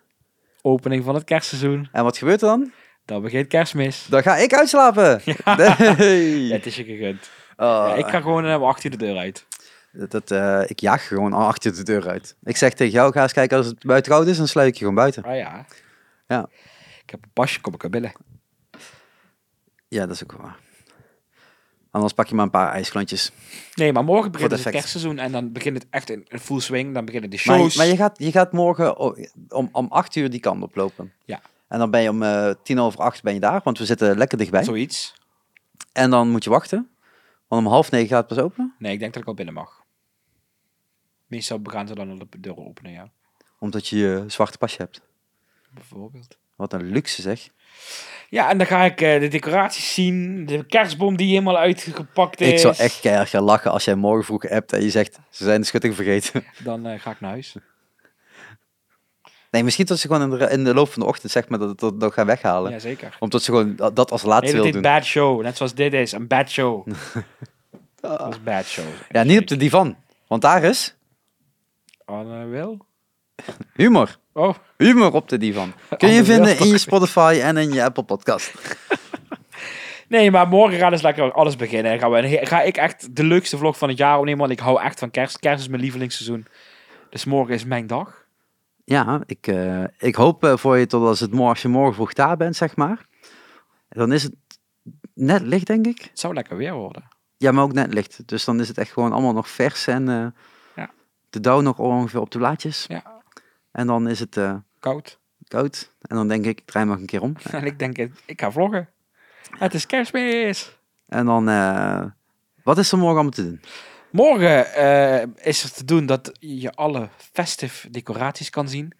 Opening van het kerstseizoen.
En wat gebeurt er dan?
Dan begint kerstmis.
Dan ga ik uitslapen. Nee.
Ja, het is je gegund.
Oh,
Ja, ik ga gewoon eh, om acht uur de deur uit.
dat, dat, eh, ik jaag gewoon al achter de deur uit. Ik zeg tegen jou, ga eens kijken als het buiten koud is, dan sluit ik je gewoon buiten.
Ah ja.
Ja.
Ik heb een pasje, kom ik er binnen.
Ja, dat is ook wel waar. Anders pak je maar een paar ijsklontjes.
Nee, maar morgen begint
Voor
dus
de
het
effect.
kerstseizoen en dan begint het echt in, in full swing. Dan beginnen de
Maar,
shows.
maar je, gaat, je gaat morgen o- om, om acht uur die kant oplopen.
Ja.
En dan ben je om eh, tien over acht ben je daar, want we zitten lekker dichtbij.
Zoiets.
En dan moet je wachten, want om half negen gaat het pas open.
Nee, ik denk dat ik al binnen mag. Meestal gaan ze dan al de deur openen, ja.
Omdat je je zwarte pasje hebt.
Bijvoorbeeld.
Wat een luxe zeg.
Ja, en dan ga ik eh, de decoraties zien. De kerstboom die helemaal uitgepakt is.
Ik zou echt keihard gaan lachen als jij morgen vroeg appt en je zegt, ze zijn de schutting vergeten.
Dan eh, ga ik naar huis.
Nee, misschien dat ze gewoon in de, in de loop van de ochtend zeg maar dat het dat, dat gaan weghalen.
Jazeker.
Omdat ze gewoon dat dat als laatste
Nee, dat
wil
is
doen.
bad show. Net zoals dit is, een bad show. Dat is bad show.
Ja, niet op de divan. Want daar is
Anne wil?
humor.
Oh,
Humor op de divan. Kun je
Ander
vinden
wereld.
in je Spotify en in je Apple Podcast.
Nee, maar morgen gaat dus lekker alles beginnen. En Gaan we, en ga ik echt de leukste vlog van het jaar opnemen, want ik hou echt van kerst. Kerst is mijn lievelingsseizoen. Dus morgen is mijn dag.
Ja, ik, eh, ik hoop eh, voor je tot als, het morgen, als je morgen vroeg daar bent, zeg maar. Dan is het net licht, denk ik.
Het zou lekker weer worden.
Ja, maar ook net licht. Dus dan is het echt gewoon allemaal nog vers en eh,
Ja.
de dauw nog ongeveer op de blaadjes.
Ja.
En dan is het eh,
Koud.
koud. En dan denk ik, ik draai maar een keer om.
En ik denk, ik ga vloggen. Het is kerstmis.
En dan, eh, wat is er morgen allemaal te doen?
Morgen eh, is er te doen dat je alle festive decoraties kan zien.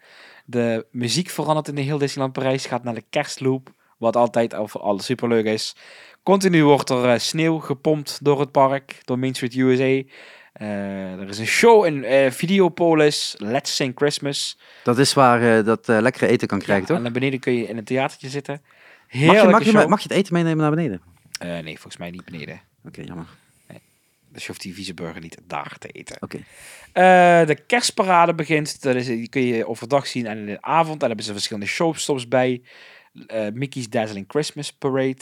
De muziek verandert in de heel Disneyland Parijs. Gaat naar de kerstloop, wat altijd al voor alle superleuk is. Continu wordt er eh, sneeuw gepompt door het park, door Main Street USA. Eh, er is een show in eh, Videopolis, Let's Sing Christmas.
Dat is waar eh, dat eh, lekkere eten kan krijgen,
Ja,
toch?
En naar beneden kun je in een theatertje zitten.
Mag je,
Heerlijke
mag, je,
show.
mag je het eten meenemen naar beneden?
Eh, nee, volgens mij niet beneden.
Oké, jammer.
Dus je hoeft die vieze burger niet daar te eten.
Oké.
Eh, de kerstparade begint. Dat is, die kun je overdag zien en in de avond. En daar hebben ze verschillende showstops bij. Eh, Mickey's Dazzling Christmas Parade.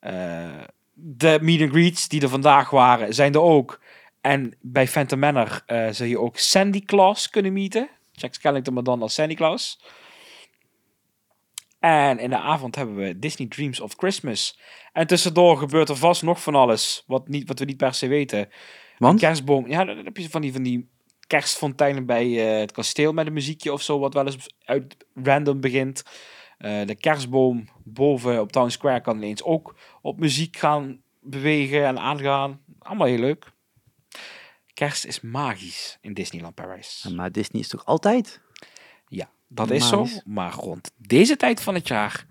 Eh, de meet and greets die er vandaag waren, zijn er ook. En bij Phantom Manor eh, zul je ook Sandy Claus kunnen meeten. Jack Skellington, maar dan als Sandy Claus. En in de avond hebben we Disney Dreams of Christmas. En tussendoor gebeurt er vast nog van alles. Wat, niet, wat we niet per se weten.
Want?
Kerstboom. Ja, dan heb je van die, van die kerstfonteinen bij eh, het kasteel met een muziekje of zo, wat wel eens uit random begint. Eh, de kerstboom boven op Town Square kan ineens ook op muziek gaan bewegen en aangaan. Allemaal heel leuk. Kerst is magisch in Disneyland Parijs.
Maar Disney is toch altijd?
Ja, dat is zo.
Magisch.
Maar rond deze tijd van het jaar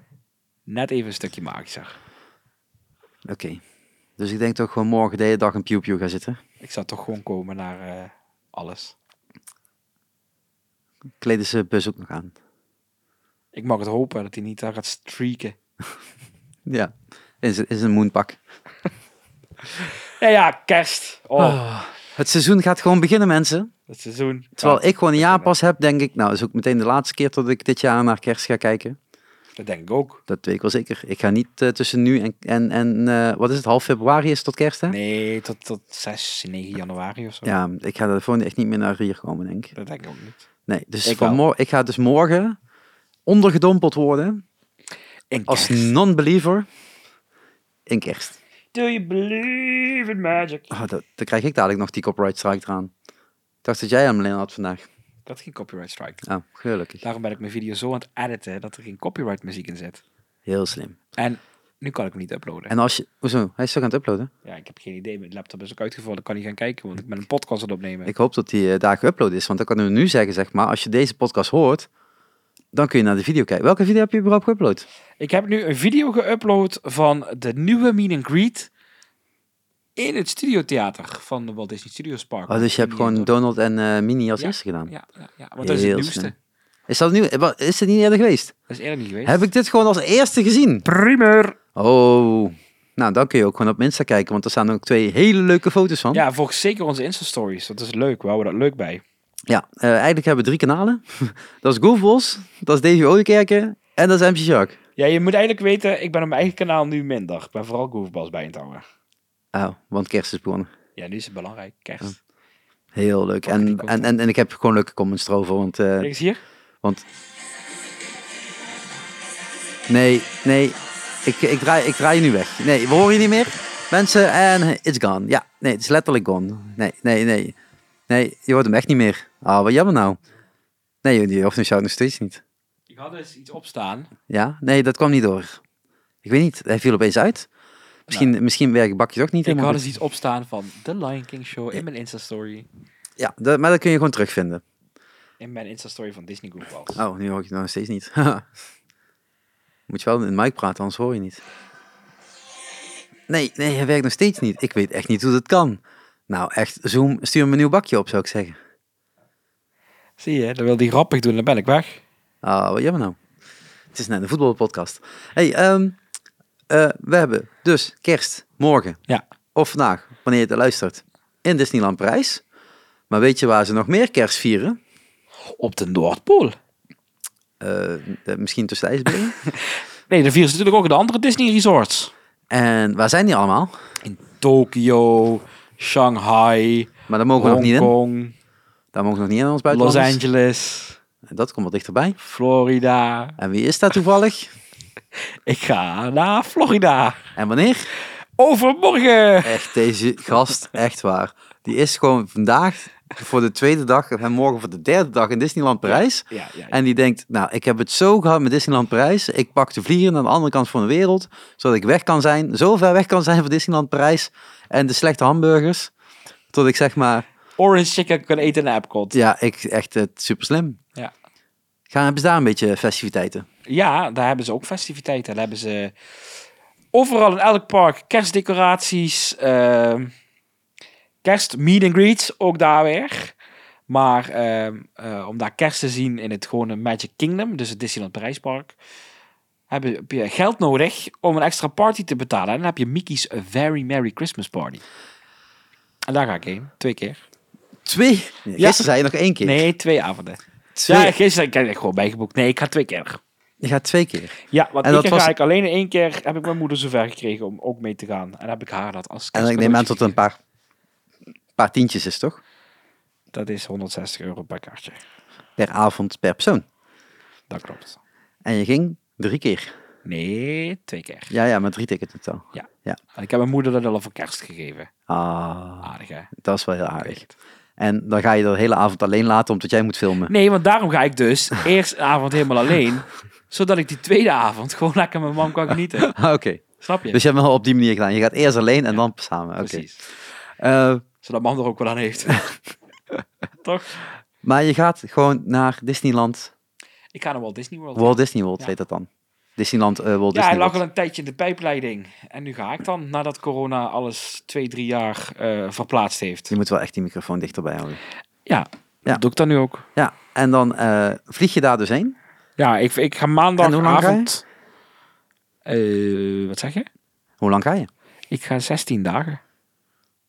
net even een stukje magischer.
Oké. Dus ik denk toch gewoon morgen de hele dag een pew pew gaan zitten.
Ik zou toch gewoon komen naar eh, alles.
Kleden ze bus ook nog aan.
Ik mag het hopen dat hij niet daar gaat streaken.
Ja. Is, is een moonpak.
Ja, ja, kerst. Oh,
Oh, Het seizoen gaat gewoon beginnen, mensen.
het seizoen.
Terwijl ik gewoon een jaar pas heb, denk ik, nou, is ook meteen de laatste keer dat ik dit jaar naar kerst ga kijken.
Dat denk ik ook.
Dat weet ik wel zeker. Ik ga niet eh, tussen nu en, en, en eh, wat is het, half februari is het tot kerst, hè?
Nee, tot, tot 6, 9 januari of zo.
Ja, ik ga de volgende echt niet meer naar hier komen, denk ik.
Dat denk ik ook niet.
Nee, dus
Ik
ik, ik ga dus morgen ondergedompeld worden
In
als
kerst.
non-believer in kerst.
Do you believe in magic?
Oh, dat, dan krijg ik dadelijk nog die copyright strike eraan. Ik dacht dat jij hem alleen had vandaag.
Ik had geen copyright strike.
Ah, gelukkig.
Daarom ben ik mijn video zo aan het editen dat er geen copyright muziek in zit.
Heel slim.
En nu kan ik hem niet uploaden.
En als je... Hoezo? Hij is toch aan het uploaden?
Ja, ik heb geen idee. Mijn laptop is ook uitgevallen. Ik kan niet gaan kijken, want ik ben een podcast aan het opnemen.
Ik hoop dat die eh, daar geüpload is. Want dan kunnen we nu zeggen, zeg maar, als je deze podcast hoort, dan kun je naar de video kijken. Welke video heb je überhaupt geüpload?
Ik heb nu een video geüpload van de nieuwe Meet and Greet in het studiotheater van de Walt Disney Studios Park.
Oh, dus je hebt gewoon Donald en eh, Minnie als
Ja,
eerste gedaan.
Ja, ja, ja, want dat is het
Heel
nieuwste.
slim. Is dat nieuw? Wa- Is dit niet eerder geweest?
Dat is eerder niet geweest.
Heb ik dit gewoon als eerste gezien?
Primer!
Oh. Nou, dan kun je ook gewoon op Insta kijken, want er staan ook twee hele leuke foto's van.
Ja, volg zeker onze Insta-stories. Dat is leuk. We houden dat leuk bij.
Ja, eh, eigenlijk hebben we drie kanalen. dat is Goofballs, dat is Davy Odekerken en dat is MC Shark.
Ja, je moet eigenlijk weten, ik ben op mijn eigen kanaal nu minder. Ik ben vooral Goofballs bij aan het houden.
Oh, want kerst is begonnen.
Ja, nu is het belangrijk. Kerst.
Heel leuk.
Pak die
En,
content.
en, en, en ik heb gewoon leuke comments erover, want... eh,
Kijk eens hier.
Want. Nee, nee. Ik, ik, draai, ik draai je nu weg. Nee, we horen je niet meer. Mensen, en it's gone. Ja, nee, het is letterlijk gone. Nee, nee, nee. Nee, je hoort hem echt niet meer. Ah, wat jammer nou. Nee, die ochtend shout nog steeds niet.
Ik had dus iets opstaan.
Ja? Nee, dat kwam niet door. Ik weet niet, hij viel opeens uit. Misschien, misschien werkt bakje toch niet
Ik
helemaal
had dus
goed.
iets opstaan van The Lion King Show in mijn Insta-story.
Ja, dat, maar dat kun je gewoon terugvinden.
In mijn Insta-story van Disney Goofballs.
Oh, nu hoor ik het nog steeds niet. Moet je wel in de mic praten, anders hoor je niet. Nee, nee, hij werkt nog steeds niet. Ik weet echt niet hoe dat kan. Nou, echt, Zoom, stuur me een nieuw bakje op, zou ik zeggen.
Zie je, dan wil die grappig doen, dan ben ik weg.
Ah, wat jammer nou. Het is net een voetbalpodcast. hey, ehm, eh, we hebben dus kerst, morgen
Ja.
of vandaag, wanneer je het luistert, in Disneyland Parijs. Maar weet je waar ze nog meer kerst vieren?
Op de Noordpool.
Eh, eh, misschien tussen de ijsberen.
Nee, de vieren ze natuurlijk ook in de andere Disney resorts.
en waar zijn die allemaal?
In Tokio, Shanghai,
Maar daar mogen we nog niet in.
Hongkong,
Daar mogen we nog niet in ons
Los
buitenland.
Angeles,
Dat komt wat dichterbij.
Florida.
En wie is dat toevallig?
Ik ga naar Florida.
En wanneer?
Overmorgen.
Echt, deze gast, echt waar. Die is gewoon vandaag voor de tweede dag en morgen voor de derde dag in Disneyland Parijs.
Ja, ja, ja.
En die denkt, nou, ik heb het zo gehad met Disneyland Parijs. Ik pak de vliegen naar de andere kant van de wereld, zodat ik weg kan zijn, zo ver weg kan zijn van Disneyland Parijs en de slechte hamburgers. Tot ik zeg maar,
Orange chicken kan eten in Epcot.
ja, ik echt super slim.
Ja.
Gaan hebben ze daar een beetje festiviteiten?
Ja, daar hebben ze ook festiviteiten. Daar hebben ze overal in elk park kerstdecoraties, ehm, kerst meet and greets, ook daar weer. Maar ehm, eh, om daar kerst te zien in het gewone Magic Kingdom, dus het Disneyland Parijspark, heb je- heb je geld nodig om een extra party te betalen. En dan heb je Mickey's Very Merry Christmas Party. En daar ga ik heen. Twee keer.
Twee? Gisteren
Ja.
zei je nog één keer.
Nee, twee avonden.
Twee.
Ja, gisteren ik heb ik gewoon bijgeboekt. Nee, ik ga twee keer.
Je gaat twee keer.
Ja, want
En
één
dat
keer
was-
ga ik alleen in één keer heb ik mijn moeder zover gekregen om ook mee te gaan. En heb ik haar dat als
En ik neem aan tot
kerstcadeautje
een paar, paar tientjes is, toch?
gegeven. Dat is 160 euro per kaartje.
Per avond, per persoon.
Dat klopt.
En je ging drie keer.
Nee, twee keer.
Ja, ja, maar drie tickets in totaal.
En ik heb mijn moeder dat al voor kerst gegeven.
Ah,
Aardig hè?
dat is wel heel aardig. En dan ga je de hele avond alleen laten, omdat jij moet filmen.
Nee, want daarom ga ik dus eerst een avond helemaal alleen. Zodat ik die tweede avond gewoon lekker met mam kan genieten.
Ah, Oké.
Snap je?
Dus je hebt hem wel op die manier gedaan. Je gaat eerst alleen en dan samen. Oké.
Precies.
Eh,
Zodat mam er ook wel aan heeft. Toch?
maar je gaat gewoon naar Disneyland,
Ik ga naar Walt Disney World.
Walt Disney World,
Ja.
heet dat dan. Disneyland eh, Walt
Ja, hij
Disney
lag al
World.
een tijdje in de pijpleiding. En nu ga ik dan, nadat corona alles twee, drie jaar eh, verplaatst heeft.
Je moet wel echt die microfoon dichterbij houden.
Ja,
Ja.
dat doe ik dan nu ook.
Ja, en dan eh, vlieg je daar dus heen.
Ja, ik, ik ga
En hoe lang
maandagavond... Eh, wat zeg je?
Hoe lang ga je?
Ik ga 16 dagen.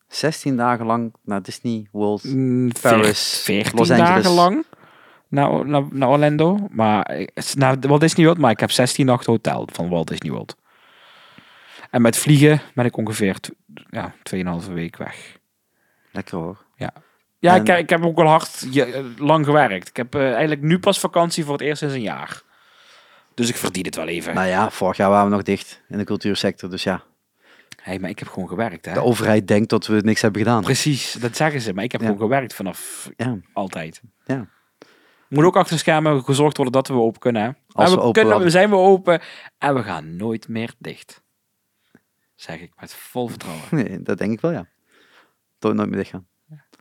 16 dagen lang naar Disney World.
Mm,
Paris,
14
Los
dagen
Angeles.
lang. naar, naar, naar Orlando. Maar ik- het is naar Walt Disney World, maar ik heb 16 nachten hotel van Walt Disney World. En met vliegen ben ik ongeveer tw- ja, 2,5 week weg.
Lekker hoor.
Ja, ik,
En-
ik heb ook wel hard je- lang gewerkt. Ik heb eh, eigenlijk nu pas vakantie voor het eerst sinds een jaar. Dus ik verdien het wel even.
Nou ja, vorig jaar waren we nog dicht in de cultuursector. Dus ja,
Hey, maar ik heb gewoon gewerkt, hè?
de overheid denkt dat we niks hebben gedaan.
Precies, dat zeggen ze. Maar ik heb
Ja.
gewoon gewerkt vanaf
Ja,
altijd.
Ja.
Moet ook achter de schermen gezorgd worden dat we open kunnen. Hè? en
Als
we,
we open
kunnen,
hadden.
we zijn we open en we gaan nooit meer dicht. Zeg ik met vol vertrouwen.
nee, dat denk ik wel, ja. Toch nooit meer dicht gaan.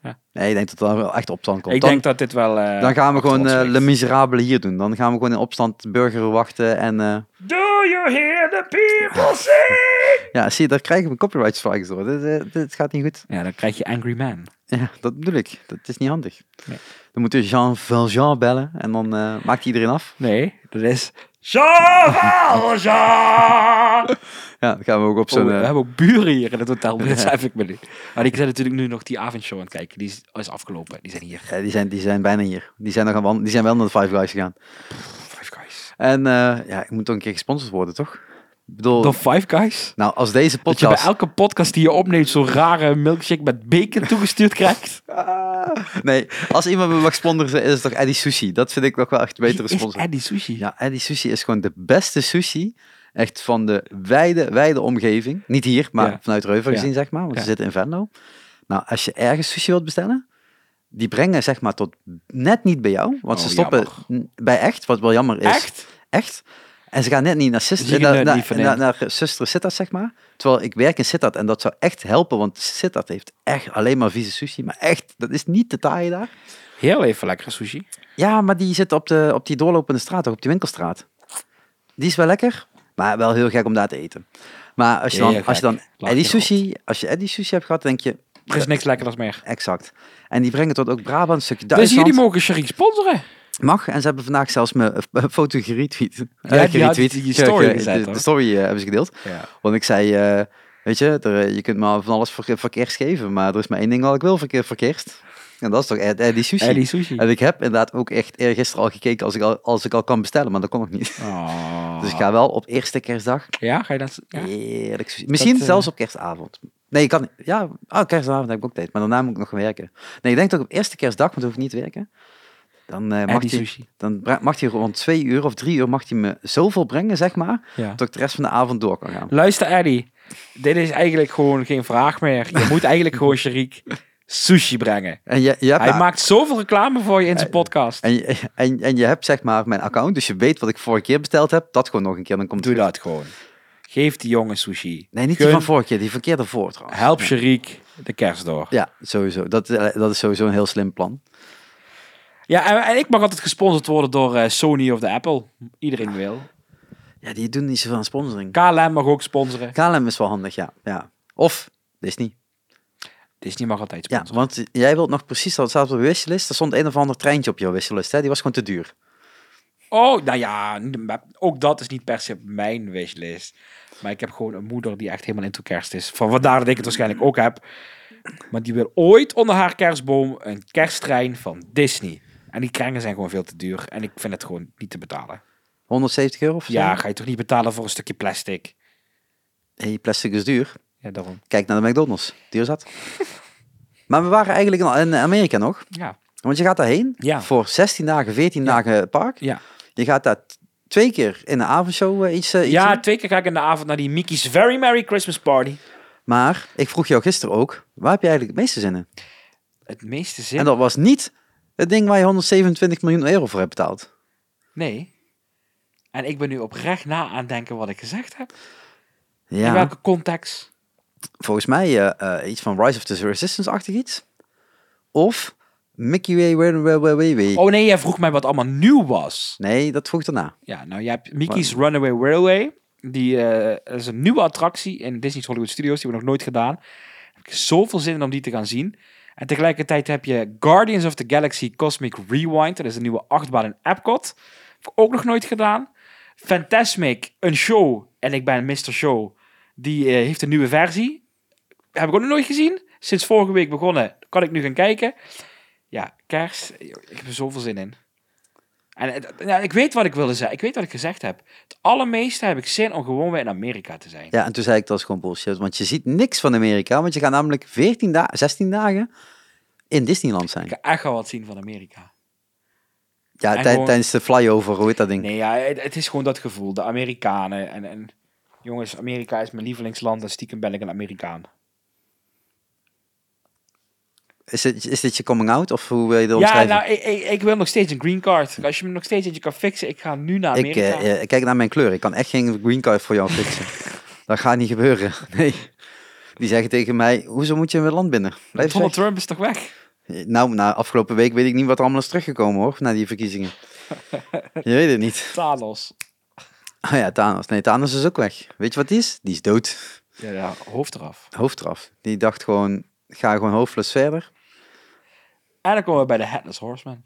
Ja.
Nee, ik denk dat dat wel echt opstand komt.
ik
Dan-
denk dat dit wel. eh,
Dan gaan we gewoon
trots
eh,
weegt.
Le Miserabele hier doen. Dan gaan we gewoon in opstand burger wachten. En eh,
Do you hear the people sing?
ja, zie je, daar krijgen we copyright strikes door. Dit, eh, dit gaat niet goed.
Ja, dan krijg je Angry Man.
Ja, dat bedoel ik. Dat is niet handig.
Nee.
Dan moeten we Jean Valjean bellen en dan eh, maakt iedereen af.
Nee, dat is. Jean-Valjean!
Ja, dan gaan we ook op
Oh,
zo'n...
we
eh,
hebben ook buren hier in het hotel, maar dat besef ik me nu. Maar ik ben natuurlijk nu nog die avondshow aan het kijken. Die is, is afgelopen. Die zijn hier.
ja, die, zijn, die zijn bijna hier. Die zijn, nog aan wand- die zijn wel naar de Five Guys gegaan.
Five Guys.
En eh, ja, ik moet toch een keer gesponsord worden, toch? Ik bedoel,
De Five Guys?
nou, als deze
Dat je bij
podcast...
elke podcast die je opneemt zo'n rare milkshake met bacon toegestuurd krijgt.
Ah, nee, als iemand me mag sponsoren, is het toch Eddie Sushi. Dat vind ik nog wel echt een betere
Wie is
sponsor.
Eddie Sushi.
Ja, Eddie Sushi is gewoon de beste sushi. Echt van de wijde, wijde omgeving. Niet hier, maar
Ja.
vanuit Reuver
Ja.
gezien, zeg maar. Want
Ja.
ze zitten in Venlo. Nou, als je ergens sushi wilt bestellen, die brengen zeg maar tot net niet bij jou. Want
Oh,
ze stoppen n- bij echt, wat wel jammer is.
Echt?
Echt. En ze gaan net niet naar,
Dus je
zuster,
kunt
naar,
het niet
naar,
vernemen.
naar, naar zuster Sittard, zeg maar. Terwijl ik werk in Sittard en dat zou echt helpen, want Sittard heeft echt alleen maar vieze sushi. Maar echt, dat is niet te taaien daar.
Heel even lekkere sushi.
Ja, maar die zit op, de, op die doorlopende straat, ook op die winkelstraat. Die is wel lekker, maar wel heel gek om daar te eten. Maar als je dan,
Heel
als je
gek.
dan
Lach
Eddie
je rot.
Sushi, als je Eddie Sushi hebt gehad, denk je,
Er is niks lekkerders meer.
exact. En die brengen tot ook Brabant, een stukje
Dus
Duitsland.
jullie mogen Sharik sponsoren.
Mag, en ze hebben vandaag zelfs mijn eh, foto geretweet. Eh,
die had die story
Ge- ge-
gezet,
De,
hoor.
de story eh, hebben ze gedeeld. Want ik zei, eh, weet je, er, eh, je kunt me van alles verke- verkeers geven, maar er is maar één ding wat ik wil verkeer, verkeerst. En dat is toch Ed- Eddie Sushi.
Eddie Eh, Sushi.
En ik heb inderdaad ook echt eergisteren al gekeken als ik al, als ik al kan bestellen, maar dat kon nog niet.
Oh.
Dus ik ga wel op eerste kerstdag
Ja, ga je dat... Ja.
heerlijk sushi. Misschien
Dat, eh,
zelfs op kerstavond. Nee, ik kan niet. Ja, oh, kerstavond heb ik ook tijd, maar daarna moet ik nog werken. Nee, ik denk dat ik op eerste kerstdag, want dan hoef ik niet te werken, dan, eh, mag,
Eddie
hij,
Sushi.
dan bra- mag hij rond twee uur of drie uur mag hij me zoveel brengen, zeg maar,
Ja.
dat ik de rest van de avond door kan gaan.
Luister Eddie, dit is eigenlijk gewoon geen vraag meer. Je moet eigenlijk gewoon Sharik sushi brengen.
En je, je hebt
Hij maakt zoveel reclame voor je in zijn podcast.
En je, en, en je hebt zeg maar mijn account, dus je weet wat ik vorige keer besteld heb. Dat gewoon nog een keer, dan komt
Doe
het
dat gewoon. Geef die jongen sushi.
goed. Nee, niet die
Gun.
van vorige keer, die verkeerde voor trouwens.
Help Sharik de kerst door.
Ja, sowieso. Dat, eh, dat is sowieso een heel slim plan.
Ja, en, en ik mag altijd gesponsord worden door eh, Sony of de Apple. Iedereen wil.
Ja, die doen niet zoveel aan sponsoring.
KLM mag ook sponsoren.
KLM is wel handig, ja. ja. Of Disney.
Disney mag altijd
Ja,
sponsoren.
want jij wilt nog precies, dat staat op de wishlist. Er stond een of ander treintje op jouw wishlist, hè. Die was gewoon te duur.
Oh, nou ja, niet- maar ook dat is niet per se mijn wishlist. Maar ik heb gewoon een moeder die echt helemaal into kerst is. Van vandaar dat ik het waarschijnlijk ook heb. Maar die wil ooit onder haar kerstboom een kersttrein van Disney. En die kringen zijn gewoon veel te duur. En ik vind het gewoon niet te betalen.
170 euro of zo.
Ja, ga je toch niet betalen voor een stukje plastic?
Hey, plastic is duur.
Ja, daarom.
Kijk naar de McDonald's. Duur zat. maar we waren eigenlijk in- in Amerika nog.
Ja,
Want je gaat daarheen
Ja.
voor 16 dagen, 14 dagen park.
ja.
Je gaat daar t- twee keer in de avondshow eh, iets, eh, iets
ja
doen.
twee keer ga ik in de avond naar die Mickey's Very Merry Christmas Party.
Maar ik vroeg jou gisteren ook, waar heb je eigenlijk het meeste zin in?
Het meeste zin.
En dat was niet het ding waar je 127 miljoen euro voor hebt betaald.
Nee. En ik ben nu oprecht na aan het denken wat ik gezegd heb. In
Ja,
welke context?
volgens mij eh, eh, iets van Rise of the Resistance-achtig iets. Of Mickey Way, Way, Way, Way, Way, Way.
Oh nee, jij vroeg mij wat allemaal nieuw was.
Nee, dat vroeg ik daarna.
Ja, nou, je hebt Mickey's Runaway Railway. Die eh, is een nieuwe attractie in Disney's Hollywood Studios. Die hebben we nog nooit gedaan. Daar heb ik zoveel zin in om die te gaan zien. En tegelijkertijd heb je Guardians of the Galaxy Cosmic Rewind. Dat is een nieuwe achtbaan in Epcot. Heb ik ook nog nooit gedaan. Fantasmic, een show. En ik ben Mr. Show. Die eh, heeft een nieuwe versie. Heb ik ook nog nooit gezien. Sinds vorige week begonnen. Kan ik nu gaan kijken. Ja, kerst. Ik heb er zoveel zin in. En het- nou, ik weet wat ik wilde zeggen. Ik weet wat ik gezegd heb. Het allermeeste heb ik zin om gewoon weer in Amerika te zijn.
Ja, en toen zei ik dat is gewoon bullshit, want je ziet niks van Amerika, want je gaat namelijk 14 dagen, 16 dagen in Disneyland zijn.
Ik ga echt wel wat zien van Amerika.
Ja,
en
tij-
gewoon-
tijdens de flyover, hoe heet dat ding?
Nee, ja, het, het is gewoon dat gevoel. De Amerikanen. En, en jongens, Amerika is mijn lievelingsland. En stiekem ben ik een Amerikaan.
Is, dit, is dit je coming out of hoe wil je dat
Ja,
omschrijven?
nou, ik, ik, ik wil nog steeds een green card. Als je me nog steeds eentje kan fixen, ik ga nu naar
ik,
Amerika.
eh, eh, kijk naar mijn kleur, ik kan echt geen green card voor jou fixen. dat gaat niet gebeuren, nee. Die zeggen tegen mij, hoezo moet je in mijn land binnen? Blijf
Donald
weg.
Trump is toch weg?
Eh, Nou, na afgelopen week weet ik niet wat er allemaal is teruggekomen hoor, na die verkiezingen. je weet het niet.
Thanos.
Ah ja, Thanos. Nee, Thanos is ook weg. Weet je wat die is? Die is dood.
Ja, ja, hoofd eraf.
hoofd eraf. Die dacht gewoon, ga gewoon hoofdless verder.
En dan komen we bij de Headless Horseman.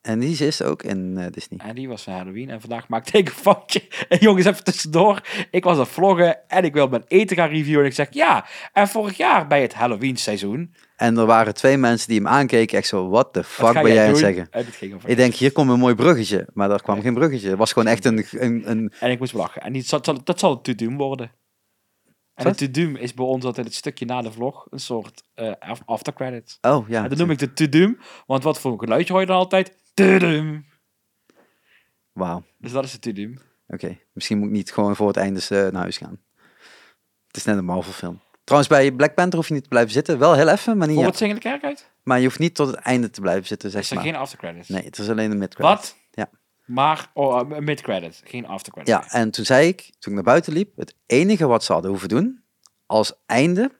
En die is ook in eh, Disney.
En die was van Halloween. En vandaag maakte ik een foutje. En jongens, even tussendoor. Ik was aan het vloggen en ik wil mijn eten gaan reviewen. En ik zeg ja. En vorig jaar bij het Halloween seizoen.
En er waren twee mensen die hem aankeken, echt zo, what the
Wat
fuck
ga
ben jij aan het
doen?
zeggen?
Heb ik het geen over.
Ik denk, hier komt een mooi bruggetje. Maar daar kwam geen bruggetje. Het was gewoon echt een... een, een
En ik moest lachen. En die, dat, zal, dat zal het tudum worden. En
Wat?
het tudum is bij ons altijd het stukje na de vlog. Een soort eh af- aftercredit.
oh, ja.
En dat noem ik de tudum. Want wat voor een geluidje hoor je dan altijd? Tudum.
Wauw. Oké.
Dus dat is de tudum.
Misschien moet ik niet gewoon voor het einde eh, naar huis gaan. Het is net een Marvel film. Trouwens, bij Black Panther hoef je niet te blijven zitten. Wel heel even, maar niet...
Voor
ja.
het zingen de kerk uit?
Maar je hoeft niet tot het einde te blijven zitten,
Is
zeg
er
maar.
geen aftercredits?
Nee, het is alleen een mid
Wat?
Ja.
Maar, oh, eh, mid-credit. Geen aftercredit.
Ja, en toen zei ik, toen ik naar buiten liep, het enige wat ze hadden hoeven doen als einde,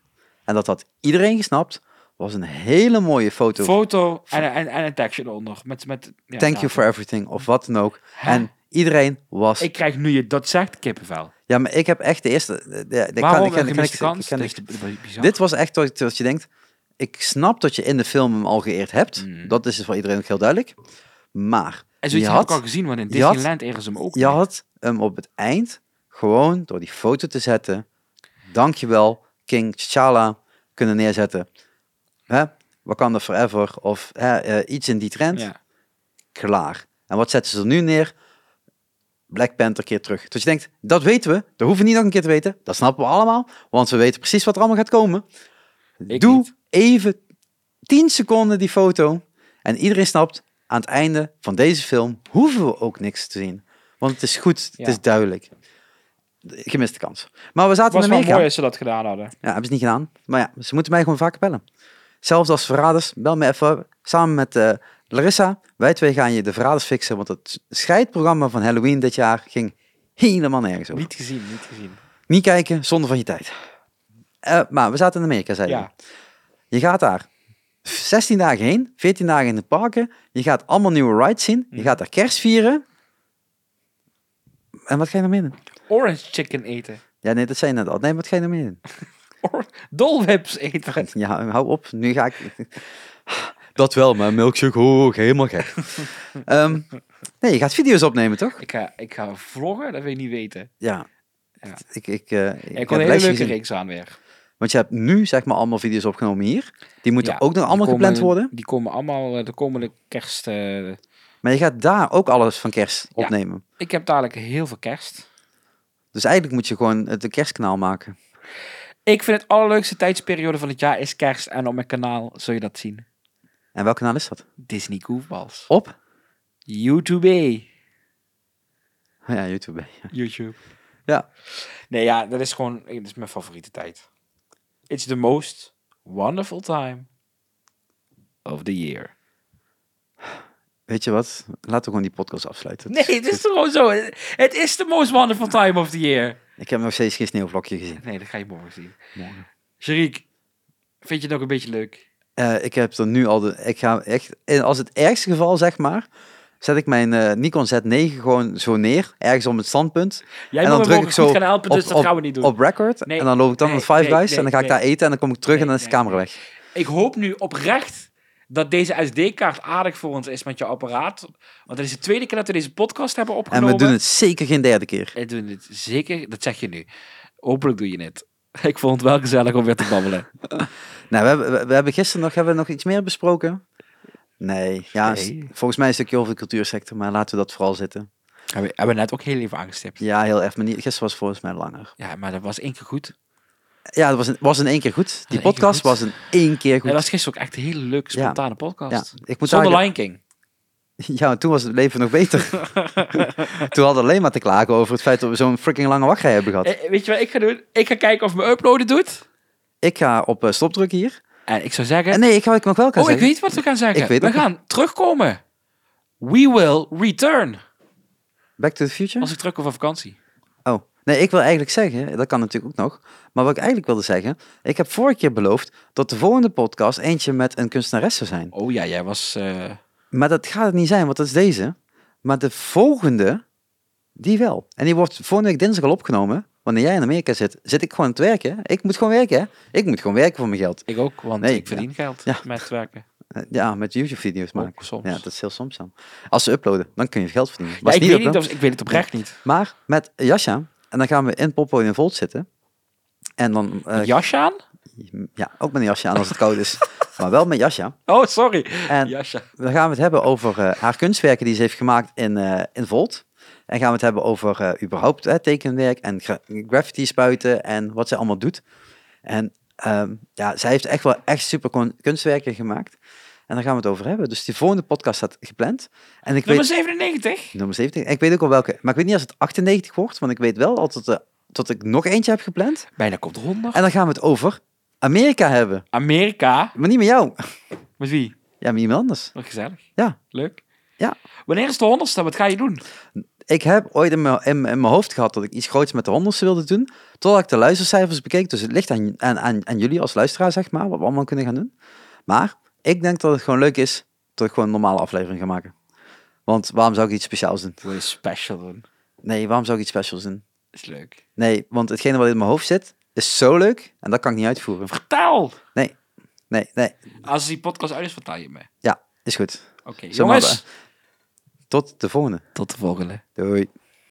en dat had iedereen gesnapt, was een hele mooie foto.
Foto en, en, en een tekstje eronder. Met, met, ja,
Thank you
datum.
for everything, of wat dan ook.
Hè?
En iedereen was...
Ik krijg nu je dat zegt kippenvel.
Ja, maar ik heb echt de eerste... de- de- ik
Waarom
ik
een
ik
gemiste
ik-
kans?
ik- ik-
Dat is de- bizar.
Dit was echt dat, dat je denkt, ik snap dat je in de film hem al geëerd hebt. Dat is voor iedereen ook heel duidelijk. Maar
Mm. en zoiets
je
heb ik al
had-
gezien, want in
je had-
Disneyland ergens hem ook.
je had hem op het eind gewoon door die foto te zetten. Dankjewel, King T'Challa kunnen neerzetten. Hè? Wakanda Forever of hè, eh, iets in die trend.
Ja.
Klaar. En wat zetten ze er nu neer? Black Panther keer terug. Dus je denkt, dat weten we. Dat hoeven we niet nog een keer te weten. Dat snappen we allemaal. Want we weten precies wat er allemaal gaat komen.
Ik
Doe
niet.
even 10 seconden die foto. En iedereen snapt, aan het einde van deze film hoeven we ook niks te zien. Want het is goed, het
Ja.
is duidelijk. Gemiste kans. Maar we
Het
zaten
was
in
wel
Amerika.
mooi als ze dat gedaan hadden.
Ja, hebben ze niet gedaan. Maar ja, ze moeten mij gewoon vaker bellen. Zelfs als verraders, bel me even samen met eh, Larissa. Wij twee gaan je de verraders fixen, want het scheidprogramma van Halloween dit jaar ging helemaal nergens over. Niet,
Niet gezien, niet gezien.
kijken, zonder van je tijd. Eh, maar we zaten in Amerika, zei je.
Ja.
Je gaat daar 16 dagen heen, 14 dagen in de parken. Je gaat allemaal nieuwe rides zien. Je gaat daar kerst vieren. En wat ga je naar binnen?
Orange chicken eten.
Ja, nee, dat zei je net al. Nee, wat ga je nou naar binnen?
Or Dolwips eten.
Ja, hou op. Nu ga ik... Dat wel, maar milkshake hoog, helemaal gek. Ehm, nee, je gaat video's opnemen, toch?
Ik ga, ik ga vloggen, dat wil je niet weten.
Ja.
Ja.
Ik, ik, eh, ik,
Ik
heb
kon een hele
lesje
leuke
gezien.
reeks aan weer.
Want je hebt nu, zeg maar, allemaal video's opgenomen hier. Die moeten
Ja,
ook nog
die
allemaal
komen-
gepland worden.
Die komen allemaal eh, de komende kerst... eh,
Maar je gaat daar ook alles van kerst
Ja.
opnemen.
ik heb dadelijk heel veel kerst.
Dus eigenlijk moet je gewoon het een kerstkanaal maken.
Ik vind het allerleukste tijdsperiode van het jaar is kerst. En op mijn kanaal zul je dat zien.
En welk kanaal is dat?
Disney Goofballs.
Op?
YouTube.
Oh Ja, YouTube.
YouTube.
Ja.
Nee, ja, dat is gewoon dat is mijn favoriete tijd. It's the most wonderful time of the year.
Weet je wat? Laten we gewoon die podcast afsluiten.
Nee, het is toch gewoon zo. Het is the most wonderful time of the year.
Ik heb nog steeds geen sneeuwvlokje gezien.
Nee, dat ga je morgen zien.
Morgen.
Sharik, vind je het ook een beetje leuk?
Eh, ik heb er nu al de... Ik ga echt... en Als het ergste geval, zeg maar, zet ik mijn eh, Nikon Z9 gewoon zo neer, ergens op het standpunt.
Jij
en
wil
dan
me
druk
morgen
ik zo
goed gaan helpen, dus
op,
dat
op-
gaan we niet doen.
Op record.
Nee,
en dan loop ik dan
nee,
met Five
nee,
Guys
nee,
en dan ga ik
nee.
daar eten en dan kom ik terug en dan is de
Nee, nee,
camera weg.
Ik hoop nu oprecht dat deze SD-kaart aardig voor ons is met je apparaat. Want het is de tweede keer dat we deze podcast hebben
En
opgenomen.
we doen het zeker geen derde keer.
We doen het zeker, dat zeg je nu. Hopelijk doe je het. Ik vond het wel gezellig om weer te babbelen.
Nou, we hebben, we- we hebben gisteren nog, hebben we nog iets meer besproken. Nee, ja, s-
Nee.
volgens mij is het een stukje over de cultuursector, maar laten we dat vooral zitten.
Hebben, hebben we net ook heel even aangestipt.
Ja, heel even. Maar niet, gisteren was volgens mij langer.
Ja, maar dat was één keer goed.
Ja, dat was in, was in één keer goed. Die
in één
podcast
keer
was
goed.
in één keer goed.
Dat was gisteren ook echt een hele leuke,
Ja.
spontane
ja,
podcast.
ik moet
Zonder
eigenlijk-
Lion King.
ja, toen was het leven nog beter. toen hadden we alleen maar te klagen over het feit dat we zo'n freaking lange wachtrij hebben gehad.
Eh, weet je wat ik ga doen? Ik ga kijken of mijn uploaden doet.
Ik ga op eh, stop drukken hier.
En ik zou zeggen...
En nee, ik ga ik nog wel kan
oh, ik
zeggen.
weet wat we gaan zeggen.
Ik weet
we
ook-
gaan terugkomen. We will return.
Back to the future?
Als ik terug kom van vakantie.
Oh, nee, ik wil eigenlijk zeggen, dat kan natuurlijk ook nog. Maar wat ik eigenlijk wilde zeggen, ik heb vorige keer beloofd dat de volgende podcast eentje met een kunstenares zou zijn.
Oh ja, jij was... eh,
Maar dat gaat het niet zijn, want dat is deze. Maar de volgende, die wel. En die wordt volgende week dinsdag al opgenomen. Wanneer jij in Amerika zit, zit ik gewoon aan het werken. Ik moet gewoon werken, hè? Ik moet gewoon werken voor mijn geld.
ik ook, want
Nee,
ik verdien geld
Ja.
met werken.
Eh, Ja, met YouTube-video's maken.
Ook soms.
Ja, dat is heel soms dan. Als ze uploaden, dan kun je geld verdienen.
Ja,
Maar
ik,
als
weet
niet
niet
uploaden-
of, ik weet het oprecht niet.
Maar met Jasja, en dan gaan we in Poppo in Volt zitten. En dan... eh,
Jas aan?
Ja, ook met een jasje aan als het koud is. maar wel met jasje. aan.
Oh, sorry.
En
Jasje.
dan gaan we het hebben over eh, haar kunstwerken die ze heeft gemaakt in, eh, in Volt. En gaan we het hebben over eh, überhaupt hè, tekenwerk en gra- graffiti spuiten en wat ze allemaal doet. En ehm, ja, zij heeft echt wel echt super kon- kunstwerken gemaakt. En daar gaan we het over hebben. Dus die volgende podcast staat gepland. En ik
Nummer
weet,
97.
nummer 17. En Ik weet ook al welke. Maar ik weet niet als het 98 wordt, want ik weet wel al dat, eh, dat ik nog eentje heb gepland.
Bijna komt 100.
En dan gaan we het over Amerika hebben.
Amerika.
Maar niet met jou.
Met wie?
Ja, met iemand anders.
Wat gezellig.
Ja.
Leuk.
Ja.
Wanneer is de honderdste? Wat ga je doen?
Ik heb ooit in mijn, in, in mijn hoofd gehad dat ik iets groots met de honderdste wilde doen, totdat ik de luistercijfers bekeek. Dus het ligt aan, aan, aan, aan jullie als luisteraar, zeg maar, wat we allemaal kunnen gaan doen. Maar ik denk dat het gewoon leuk is dat ik gewoon een normale aflevering ga maken. Want waarom zou ik iets speciaals doen?
Wil je special doen?
Nee, waarom zou ik iets speciaals doen?
Is leuk.
Nee, want hetgene wat in mijn hoofd zit, is zo leuk en dat kan ik niet uitvoeren.
Vertel!
Nee, nee,
Als die podcast uit is, vertel je me.
ja, is goed.
Oké,
Zo
jongens.
maar, Tot de volgende.
Tot de volgende.
Doei.